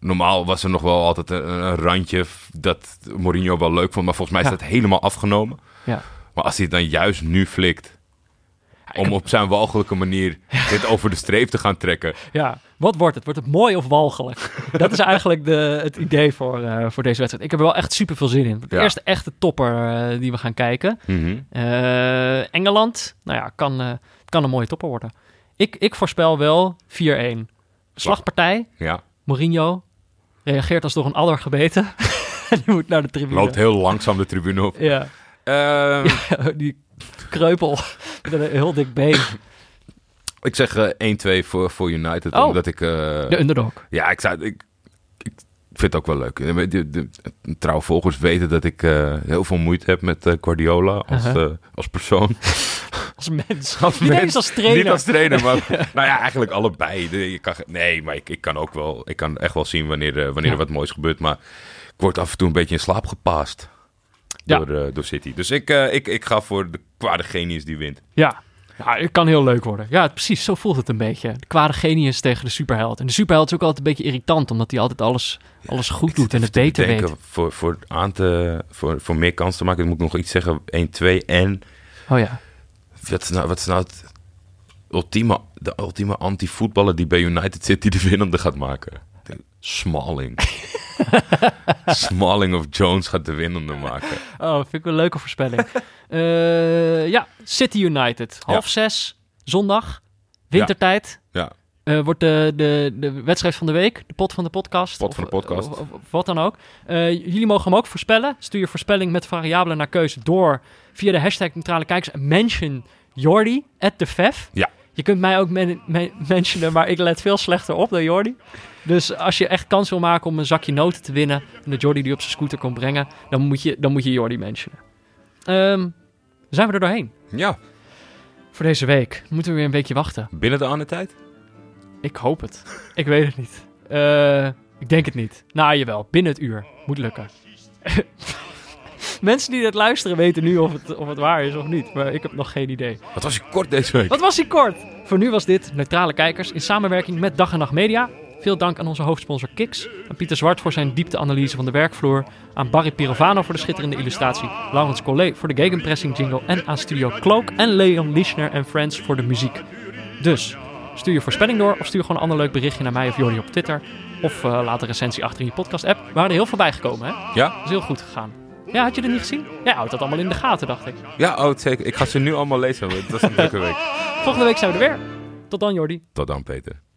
Speaker 4: Normaal was er nog wel altijd een, een randje f- dat Mourinho wel leuk vond. Maar volgens mij is
Speaker 1: Ja.
Speaker 4: dat helemaal afgenomen.
Speaker 1: Ja.
Speaker 4: Maar als hij het dan juist nu flikt... Om op zijn walgelijke manier dit over de streep te gaan trekken.
Speaker 1: Ja, wat wordt het? Wordt het mooi of
Speaker 4: [LAUGHS]
Speaker 1: walgelijk? Dat is eigenlijk de, het idee voor, eh, voor deze wedstrijd. Ik heb er wel echt super veel zin in. De
Speaker 4: Ja.
Speaker 1: eerste echte topper eh, die we gaan kijken.
Speaker 4: Mhm.
Speaker 1: Eh, Engeland, nou ja, kan, eh, kan een mooie topper worden. Ik, ik voorspel wel 4-1. Slagpartij,
Speaker 4: Ja,
Speaker 1: Mourinho reageert als door een adder gebeten. [LAUGHS] En die moet naar de tribune.
Speaker 4: loopt heel langzaam de tribune op.
Speaker 1: Ja, [LAUGHS]
Speaker 4: Ehm,
Speaker 1: die kreupel met een heel dik been.
Speaker 4: Ik zeg eh, 1-2 voor, voor United.
Speaker 1: Oh.
Speaker 4: Omdat ik... eh,
Speaker 1: De underdog.
Speaker 4: Ja, ik, zou, ik, ik vind het ook wel leuk. Eh, maar De, de, trouw volgers weten dat ik eh, heel veel moeite heb met eh, Guardiola als,
Speaker 1: Uh-huh.
Speaker 4: eh, als persoon.
Speaker 1: Als mens.
Speaker 4: Als
Speaker 1: Niet
Speaker 4: mens.
Speaker 1: eens als trainer.
Speaker 4: Niet als trainer, maar
Speaker 1: [LAUGHS]
Speaker 4: nou ja, eigenlijk allebei. De- je kan, ge- nee, maar ik, ik kan ook wel, ik kan echt wel zien wanneer, eh, wanneer er
Speaker 1: Ja.
Speaker 4: wat moois gebeurt. Maar ik word af en toe een beetje in slaap gepaast
Speaker 1: Ja.
Speaker 4: door, eh, door City. Dus ik, eh, ik, ik ga voor de kwade genius die wint.
Speaker 1: Ja. ja, het kan heel leuk worden. Ja, precies, zo voelt het een beetje. De kwade genius tegen de superheld. En de superheld is ook altijd een beetje irritant, omdat hij altijd alles, alles goed doet en het beter weet.
Speaker 4: Voor, voor, aan te, voor, voor meer kans te maken, moet ik nog iets zeggen. 1-2 en...
Speaker 1: Oh ja.
Speaker 4: Wat is nou, wat is nou het ultieme, de ultieme anti-voetballer die bij United zit die de winnende gaat maken? De- Smalling. Smalling of Jones gaat de winnende maken.
Speaker 1: Oh, vind ik wel een leuke
Speaker 4: [LAUGHS]
Speaker 1: voorspelling. Eh, ja, City United. Half zes, zondag, wintertijd.
Speaker 4: Ja.
Speaker 1: Eh, wordt de, de, de wedstrijd van de week, de pot van de podcast.
Speaker 4: Pot van
Speaker 1: of- eh,
Speaker 4: de podcast.
Speaker 1: of- of- of wat dan ook. Eh, jullie mogen hem ook voorspellen. Stuur je voorspelling met variabelen naar keuze door via de hashtag Neutrale Kijkers. En Mention Jordi, at de Vef.
Speaker 4: Ja.
Speaker 1: Je kunt mij ook men, men- mentionen, maar ik let veel slechter op dan Jordi. Dus als je echt kans wil maken om een zakje noten te winnen... en dat Jordi die op zijn scooter komt brengen... dan moet je, dan moet je Jordi mentionen. Ehm, zijn we er doorheen
Speaker 4: Ja,
Speaker 1: voor deze week. Moeten we weer een weekje wachten.
Speaker 4: binnen de aan de tijd?
Speaker 1: Ik hoop het. Ik weet het niet. Eh, ik denk het niet. Nou, jawel. Binnen het uur. Moet lukken. [LAUGHS] Mensen die dit luisteren weten nu of het, of het waar is of niet. Maar ik heb nog geen idee.
Speaker 4: Wat was je kort deze week?
Speaker 1: Wat was die kort? Voor nu was dit Neutrale Kijkers in samenwerking met Dag en Nacht Media. Veel dank aan onze hoofdsponsor Kiks. Aan Pieter Zwart voor zijn diepteanalyse van de werkvloer. Aan Barry Pirovano voor de schitterende illustratie. Laurens Collet voor de gegenpressing jingle. En aan Studio Cloak en Leon Lischner en Friends voor de muziek. Dus, stuur je voorspelling door of stuur gewoon een ander leuk berichtje naar mij of Jordi op Twitter. Of eh, laat een recensie achter in je podcast app. We waren er heel veel bijgekomen, hè?
Speaker 4: Ja?
Speaker 1: Dat is heel goed gegaan. Ja, had je dat niet gezien? Ja, houdt dat allemaal in de gaten, dacht ik.
Speaker 4: Ja, oh, het zeker. Ik ga ze nu allemaal lezen. want Het was een drukke week.
Speaker 1: Volgende week zijn we er weer. Tot dan, Jordi.
Speaker 4: Tot dan, Peter.